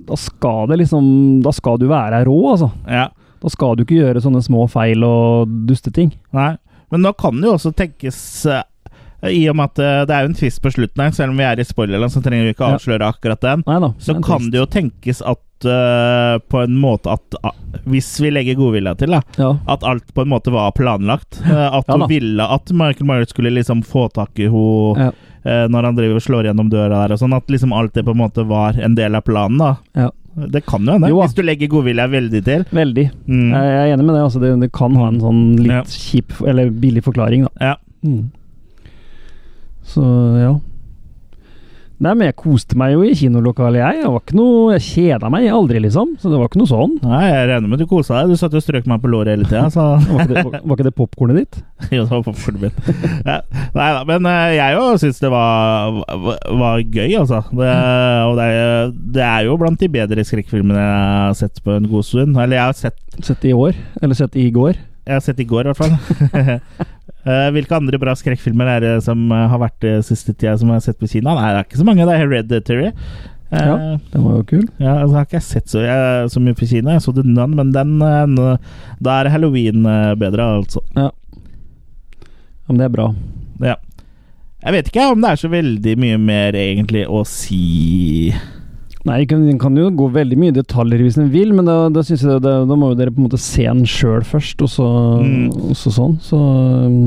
da skal det liksom Da skal du være rå, altså.
ja.
Da skal du ikke gjøre sånne små feil og dusteting.
Nei, men nå kan det jo også tenkes eh, I og med at eh, det er jo en tvist på slutten her, selv om vi er i spoilerland, så trenger vi ikke
Ja.
avsløre akkurat den.
Nei da.
Så
men
kan
trist.
det jo tenkes at eh, på en måte at ah, Hvis vi legger godvilja til, da.
Ja.
At alt på en måte var planlagt. eh, at
Ja da.
hun ville at Michael Myers skulle liksom få tak i henne
Ja.
eh, når han driver og slår gjennom døra der og sånn, at liksom alt det på en måte var en del av planen, da.
Ja.
Det kan jo hende,
Jo da.
hvis du legger godvilja veldig til.
Veldig.
Mm.
Jeg jeg er enig med det. Altså, det, det kan ha en sånn litt
Ja.
kjip, eller billig forklaring, da. Mm.
Ja.
Så ja. Nei, men jeg koste meg jo i kinolokalet, jeg. Jeg var ikke noe, jeg kjeda meg aldri, liksom. Så det var ikke noe sånn.
Nei, jeg regner med du kosa deg. Du satt jo og strøk meg på låret hele tida, så
Var ikke det, var, var ikke det popkornet ditt?
Jo, det var popkornet mitt. Ja. Nei da, men eh, jeg jo syns det var, var, var gøy, altså. Det, og det er, det er jo blant de bedre skrekkfilmene jeg har sett på en god stund. Eller jeg har sett,
Sett i år? Eller sett i går?
jeg har sett i går, i hvert fall. Eh, Hvilke andre bra skrekkfilmer er det som eh, har vært det siste tida som jeg har sett på Kina? Nei, det er ikke så mange. Det er Hereditary. Eh,
Ja. Den var jo kul.
Ja, altså, har ikke jeg sett så, jeg, så mye på Kina. Jeg så The Nun, men den, eh, nå- da er halloween eh, bedre, altså.
Ja, men det er bra.
Ja. Jeg vet ikke om det er så veldig mye mer egentlig å si
Nei, den kan, den kan jo gå veldig mye i detaljer hvis den vil, men da, da synes jeg det, da må jo dere på en måte se den sjøl først, og så,
Mm.
og så sånn. Så um,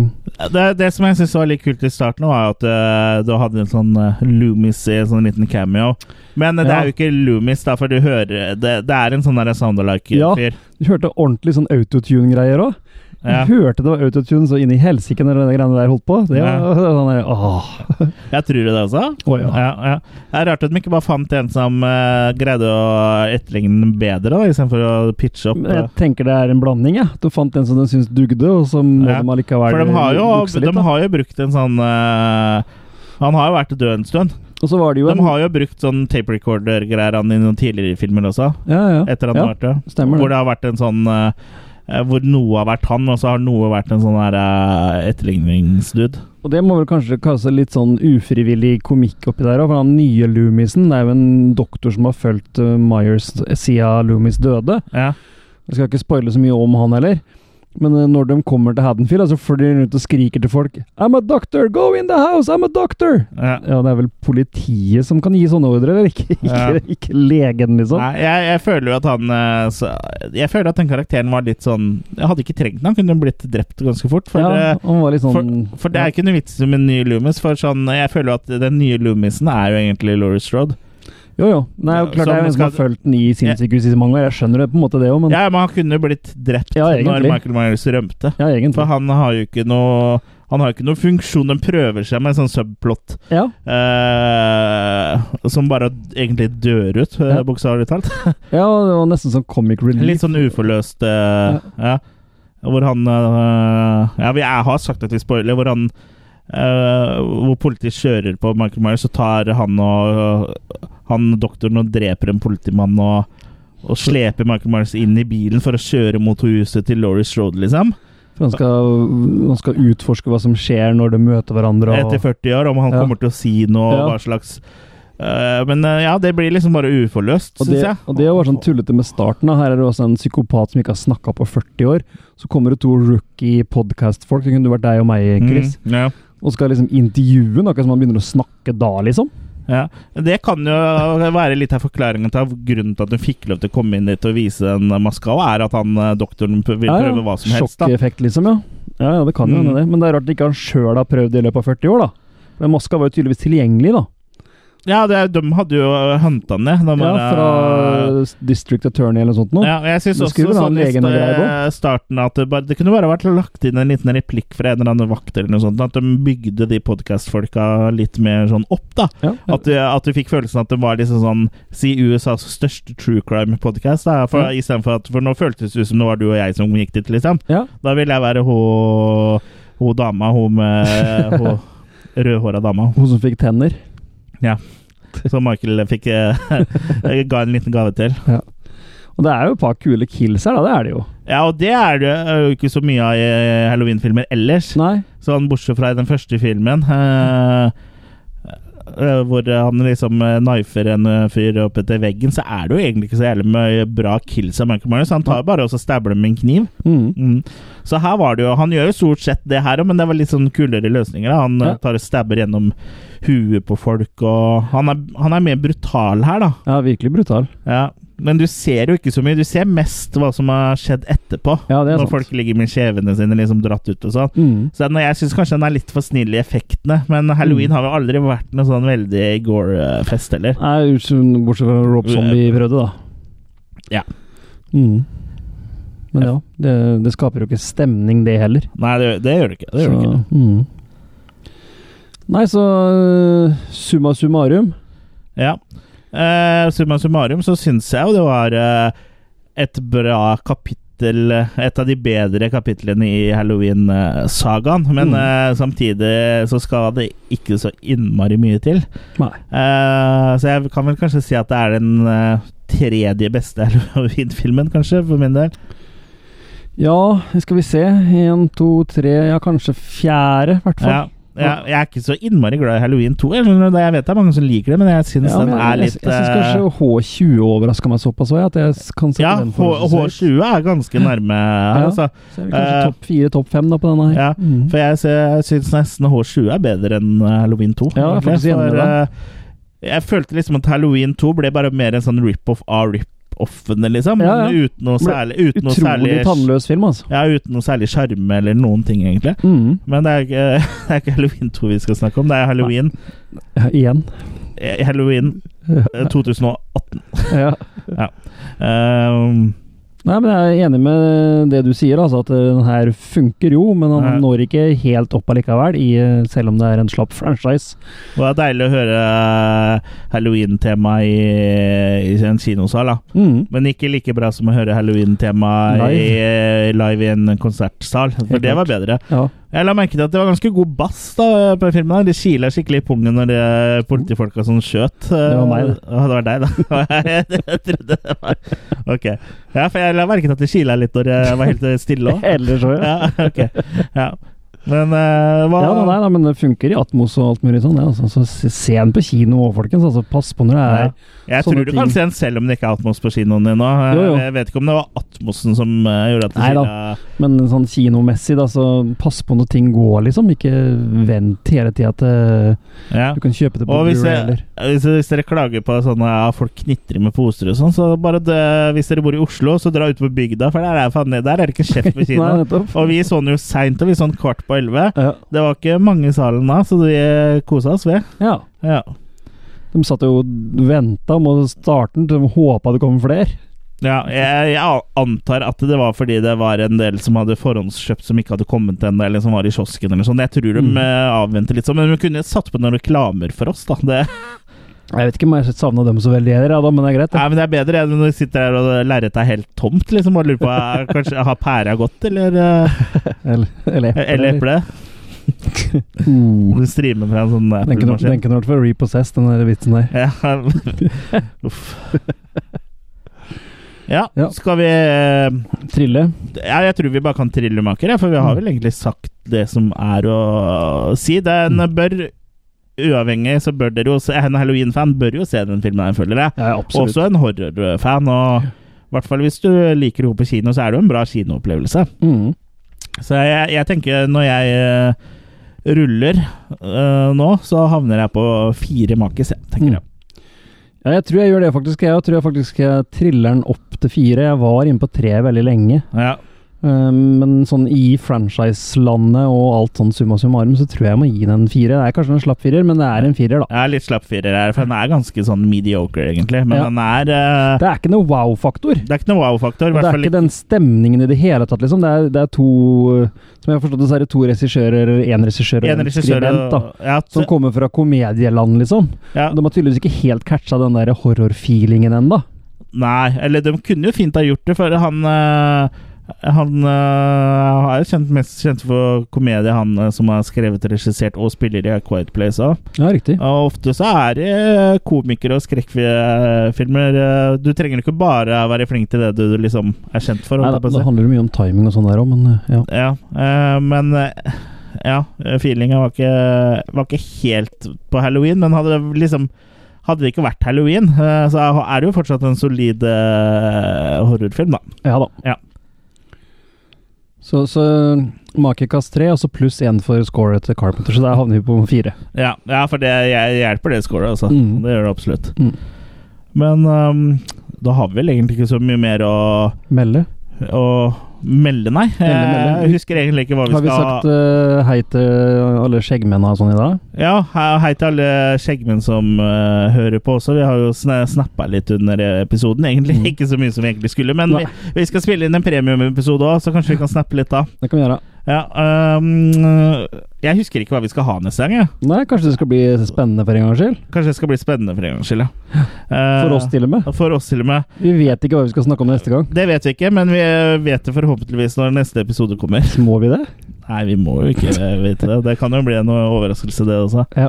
Det, det som jeg syns var litt kult i starten, var jo at eh, du hadde en sånn eh, Loomis i en sånn liten cameo. Men eh, det
Ja.
er jo ikke Loomis, da, for du hører Det, det er en sånn der
Ja.
soundalike-fyr.
Du hørte ordentlig sånn autotune-greier òg?
Ja.
Du hørte det var autotune så inn i helsike når de greiene der holdt på? Det var
Ja.
sånn der, åh.
Jeg tror det også.
Å, ja.
Ja, ja. Det er rart at de ikke bare fant en som eh, greide å etterligne den bedre, da, istedenfor å pitche opp.
Men
eh.
Jeg tenker det er en blanding, jeg. Du fant en som du syns dugde, og så må
Ja.
de allikevel
For de har, jo,
jukse litt,
de
da.
har jo brukt en sånn eh, Han har jo vært død en stund.
Og så var det jo
De
en
har jo brukt sånn tape recorder-greier han i noen tidligere filmer også.
Ja, ja.
Etter han
Ja,
har vært det.
stemmer det.
Hvor det har vært en sånn eh, eh, Hvor noe har vært han, og så har noe vært en sånn her eh, etterligningsdude.
Og det må vel kanskje kaste litt sånn ufrivillig komikk oppi der òg, for han nye Loomisen det er jo en doktor som har fulgt eh, Myers siden Loomis døde.
Ja.
Jeg skal ikke spoile så mye om han heller. Men eh, når de kommer til Haddonfield, så flyr de rundt og skriker til folk I'm a doctor! Go in the house! I'm a doctor!
ja.
Ja, det er vel politiet som kan gi sånne ordre, eller? Ikke, ikke,
Ja.
ikke legen, liksom.
Nei, jeg, jeg føler jo at han eh, så, Jeg føler at den karakteren var litt sånn Jeg hadde ikke trengt den, han kunne blitt drept ganske fort. For,
ja,
eh,
han var litt sånn
for, for det er ikke noe vits med en ny Loomis. For sånn, jeg føler jo at den nye Loomisen er jo egentlig Laurie Strode.
Jo, jo. Nei, jo,
Så
klart det er
man
jo en som har
skal-
fulgt den i sinnssykehuset i så mange år. Jeg skjønner det på en måte, det òg, men ja,
Ja, men han kunne blitt drept
Ja,
når
egentlig.
Michael Myers rømte. For
egentlig.
han har jo ikke noe han har jo ikke noen funksjon, de prøver seg med en sånn subplot
Ja.
eh, som bare egentlig dør ut, eh,
Ja.
bokstavelig talt.
ja, det var nesten sånn comic relief.
Litt sånn uforløst eh, ja. Hvor han eh, Ja, vi jeg har sagt at vi spoiler, hvor han eh, Hvor politiet kjører på Michael Myers, så tar han og han doktoren og dreper en politimann og, og sleper Michael Myers inn i bilen for å kjøre mot huset til Laurie Strode, liksom.
For han skal, han skal utforske hva som skjer når de møter hverandre.
etter
Og,
40 år, om han
Ja.
kommer til å si noe,
Ja.
hva slags Eh, Men eh, ja, det blir liksom bare uforløst,
og, det,
syns jeg.
og det var sånn tullete med starten. Da. Her er det også en psykopat som ikke har snakka på 40 år. Så kommer det to rookie podcast-folk. Det kunne vært deg og meg, Chris.
Mm, ja.
Og skal liksom intervjue den, akkurat som han begynner å snakke da, liksom.
Ja. Det kan jo være litt av forklaringen til at grunnen til at hun fikk lov til å komme inn dit og vise den maska, og er at han eh, doktoren pr- vil
Ja, ja.
prøve hva som helst. Da.
Sjokkeffekt, liksom, ja. Ja, ja, det kan jo
Mm.
hende det. Men det er rart ikke han sjøl har prøvd det i løpet av 40 år, da. For den maska var jo tydeligvis tilgjengelig, da.
Ja, det, de hadde jo hanta den ned. De
Ja,
bare-
fra
eh,
District Attorney eller noe sånt noe.
ja, og jeg synes
Det
også
skulle vel ha en
sånn i
egen greie
sta- starten at det, bare, det kunne bare vært lagt inn en liten replikk fra en eller annen vakt eller noe sånt. At de bygde de podkastfolka litt mer sånn opp, da.
Ja.
At du, at du fikk følelsen at det var liksom sånn Si USAs største true crime-podkast. For,
Ja.
Istedenfor at For nå føltes det ut som det var du og jeg som gikk dit, liksom.
Ja.
Da vil jeg være hun Hun dama, hun med Hun rødhåra dama.
Hun som fikk tenner.
Som Michael fikk eh, Ga en liten gave til.
Og det er jo et par kule kills her, da. Det er det jo.
Ja, og det er det jo ikke så mye av i Halloween-filmer ellers.
Nei.
Sånn bortsett fra i den første filmen. eh, eh, hvor han liksom eh, knifer en eh, fyr opp etter veggen, så er det jo egentlig ikke så jævlig mye bra kills av Michael Myers. Han tar jo bare og så stabler med en kniv.
Mm.
Mm. Så her var det jo Han gjør jo stort sett det her òg, men det var litt sånn kulere løsninger. Da. Han eh,
Ja.
tar og stabber gjennom huet på folk, og han er, han er mer brutal her, da.
Ja, virkelig brutal.
Ja. Men du ser jo ikke så mye. Du ser mest hva som har skjedd etterpå.
Ja, det er
når
sant.
folk ligger med kjevene sine liksom dratt ut og sånn.
Mm.
Så den, Jeg syns kanskje den er litt for snill i effektene, men halloween
Mm.
har jo aldri vært noe sånn veldig gore-fest heller.
Nei, ut- bortsett fra Rob Zombie prøvde, da.
Ja.
Mm. Men ja, det, det skaper jo ikke stemning, det heller.
Nei, det, det gjør det ikke. Det gjør det
så,
ikke.
Mm. Nei, så øh, summa summarum
Ja. Eh, summa summarum så syns jeg jo det var eh, et bra kapittel Et av de bedre kapitlene i Halloween-sagaen. Men
Mm.
eh, samtidig så skal det ikke så innmari mye til.
Nei.
Eh, så jeg kan vel kanskje si at det er den eh, tredje beste Halloween-filmen, kanskje, for min del.
Ja, skal vi se. Én, to, tre Ja, kanskje fjerde, i hvert fall.
Ja. Ja, jeg er ikke så innmari glad i Halloween 2. Jeg, skjønner det, jeg vet det er mange som liker det, men jeg syns
Ja, men
den er
jeg,
litt
jeg, jeg syns
eh,
kanskje H20 overraska meg såpass òg, at jeg kan sette
Ja,
den
H H20 er ganske nærme her,
Ja.
altså.
Så er vi kanskje
Eh,
topp fire, topp fem da, på denne her.
Ja,
Mm.
for jeg, sy- jeg syns nesten H20 er bedre enn eh, Halloween 2.
Ja, jeg er
egentlig,
faktisk enig med
for,
deg.
eh, jeg følte liksom at Halloween 2 ble bare mer en sånn rip-off av rip-offene, liksom.
Ja, ja.
men Uten noe
Ble
særlig Uten noe
Utrolig
særlig,
tannløs film, altså.
ja, uten noe særlig sjarme eller noen ting, egentlig.
Mm.
Men det er, ikke, det er ikke Halloween 2 vi skal snakke om, det er Halloween.
Ja, igjen.
eh, Halloween eh, 2018.
Ja.
Um,
Nei, men Jeg er enig med det du sier, altså, at eh, den her funker jo, men
Ja.
han når ikke helt opp allikevel, i, eh, selv om det er en slapp franchise.
det var deilig å høre eh, halloween-tema i, i en kinosal, da.
Mm.
Men ikke like bra som å høre halloween-tema
Live.
i- live i en konsertsal. For
Helt
det var bedre.
Ja.
Jeg la merke til at det var ganske god bass da på filmen. her. Det kila skikkelig i pungen når det politifolka som skjøt. Det
var meg, det.
Ja, det var deg, da. jeg trodde det var Ok. Ja, for jeg la merke til at det kila litt når jeg var helt stille òg.
Eller så, ja.
Ja, ok. Ja. Men eh, hva
Ja, da, nei, da, men det funker i Atmos og alt mulig sånn. Ja, altså, så se se den på kino òg, folkens. Altså, pass på når det er
Ja. Jeg
sånne
tror du kan
ting.
se den selv om det ikke er Atmos på kinoen din nå.
Jo, jo.
Jeg vet ikke om det var Atmosen som eh, gjorde at det
Nei da.
kila
Men sånn kinomessig, da, så pass på når ting går, liksom. Ikke vent hele tida at eh,
Ja.
du kan kjøpe det på
Og hvis,
Blu-ray
jeg,
eller
hvis, hvis dere klager på sånne ja, folk knitrer med poser og sånn, så bare det, hvis dere bor i Oslo, så dra ut på bygda, for der er, faen, der er det ikke kjeft på
Nei,
kino.
nettopp.
Og vi så den jo seint, og vi så den kvart på elleve.
Ja.
Det var ikke mange i salen da, så vi kosa oss ved.
ja.
Ja.
De satt jo og venta mot starten, de håpa det kom flere.
Ja, jeg, jeg antar at det var fordi det var en del som hadde forhåndskjøpt som ikke hadde kommet ennå, eller som var i kiosken eller sånn. Jeg tror de
Mm.
eh, avventer litt sånn, men de kunne satt på noen reklamer for oss, da. Det,
Jeg vet ikke om jeg savna dem så veldig heller, ja, da, men det er greit.
Nei, men det er bedre enn når du sitter her og lerretet er helt tomt, liksom, og lurer på er, kanskje har pæra gått, eller eh,
det. Eller, eller eple.
Eller eplet.
Uh,
Du streamer fra en sånn
den kunne den
Apple-maskin.
kunne vært for repossessed, den der vitsen der.
Ja. Uff. Ja,
Ja.
skal vi eh,
Trille.
ja, Jeg tror vi bare kan trillemaker, ja, for vi
Mm.
har vel egentlig sagt det som er å si. Den
Mm.
bør Uavhengig så bør dere jo se En Halloween-fan bør jo se den filmen, her, føler jeg.
Ja, absolutt.
Også en horrorfan. Og i hvert fall hvis du liker henne på kino, så er det jo en bra kinoopplevelse.
Mm.
Så jeg, jeg tenker når jeg eh, ruller eh, nå, så havner jeg på fire makis, jeg,
Mm.
tenker jeg.
Ja, jeg tror jeg gjør det, faktisk. Jeg tror jeg faktisk jeg triller den opp til fire. Jeg var inne på tre veldig lenge.
Ja.
Um, Men sånn i franchise-landet og alt sånn summa summarum, så tror jeg jeg må gi den en firer. Det er kanskje en slapp firer, men det er en firer, da.
Jeg er litt slapp firer her, for den er ganske sånn mediocre, egentlig. Men
Ja.
den er eh,
Det er ikke noe wow-faktor.
Det er ikke noe wow-faktor. i
Og Det
hvert
er
fall
ikke den stemningen i det hele tatt, liksom. Det er, det er to uh, Som jeg har forstått det, så er det to regissører, eller én regissør og
en
en
regissør
skribent, da.
og- ja,
Som kommer fra komedieland, liksom.
ja,
De har tydeligvis ikke helt catcha den der horror-feelingen ennå.
Nei, eller de kunne jo fint ha gjort det, for han eh, han eh, er jo kjent, mest kjent for komedie, han eh, som har skrevet, regissert og spiller i A Quiet Place òg.
Ja, riktig.
Og ofte så er det eh, komikere og skrekkfilmer eh, Du trenger ikke bare være flink til det du liksom er kjent for.
Nei,
holdt
da,
jeg på å
det
si.
handler jo mye om timing og sånn der òg, men uh, ja.
Ja, eh, men eh, Ja, eh, feelingen var ikke, var ikke helt på halloween, men hadde det liksom hadde det ikke vært halloween, eh, så er det jo fortsatt en solid eh, horrorfilm, da.
Ja da.
Ja.
Så, så makekast tre, og så pluss én for scoret til Carpenter, så der havner vi på fire.
Ja, ja for det jeg hjelper det scoret, altså.
Mm.
Det gjør det absolutt.
Mm.
Men ehm, da har vi vel egentlig ikke så mye mer å,
Melde.
å melde, nei. Eh,
melde.
Jeg husker egentlig ikke hva vi
Har vi
skal
sagt eh, hei til alle skjeggmennene og sånn i dag?
Ja, he- hei til alle skjeggmenn som eh, hører på også. Vi har jo sna snappa litt under episoden, egentlig. Ikke så mye som vi egentlig skulle, men vi,
Mm. Nei.
vi skal spille inn en premiumepisode òg, så kanskje vi kan snappe litt da.
Det kan vi gjøre.
Ja, øhm, jeg husker ikke hva vi skal ha neste gang. Ja.
Nei, kanskje det skal bli spennende for en gangs skyld?
Kanskje det skal bli spennende for en gangs skyld. Ja. Eh,
For oss, til og med.
For oss til og med.
Vi vet ikke hva vi skal snakke om neste gang.
Det vet vi ikke, men vi vet det forhåpentligvis når neste episode kommer.
Må vi det?
Nei, vi må jo ikke vite det. Det kan jo bli en overraskelse, det også.
Ja.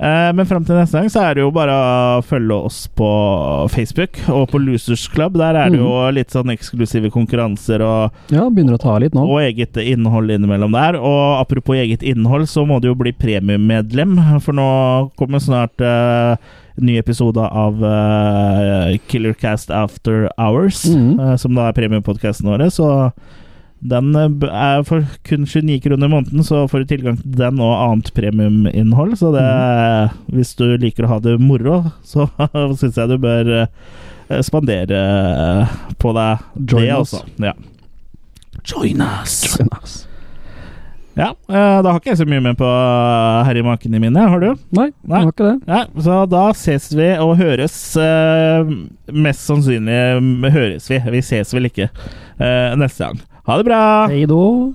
Eh, Men fram til neste gang så er det jo bare å følge oss på Facebook og på Losers Club. Der er det jo litt sånn eksklusive konkurranser og,
Ja, begynner å ta litt nå.
og eget innhold innimellom der. Og apropos eget innhold, så må du jo bli premiummedlem, for nå kommer snart eh, ny episode av eh, Killer Cast After Hours,
Mhm.
eh, som da er premiepodkasten vår. Så den eh, b- er for kun 29 kroner i måneden, så får du tilgang til den og annet premiuminnhold. Så det,
Mhm.
hvis du liker å ha det moro, så syns jeg du bør eh, spandere eh, på deg
Join
det,
us.
altså. Ja. Join us!
Join us.
Ja, eh, da har ikke jeg så mye med på herre makene mine, har du?
Nei,
Nei.
det var ikke det.
Ja, så da ses vi og høres eh, Mest sannsynlig mm, høres vi. Vi ses vel ikke eh, neste gang. Ha det bra!
Hei då.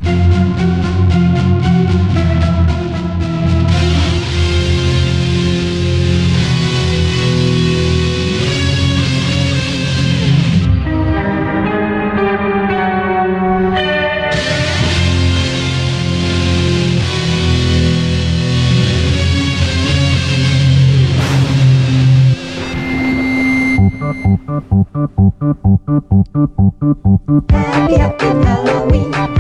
Happy, happy Halloween.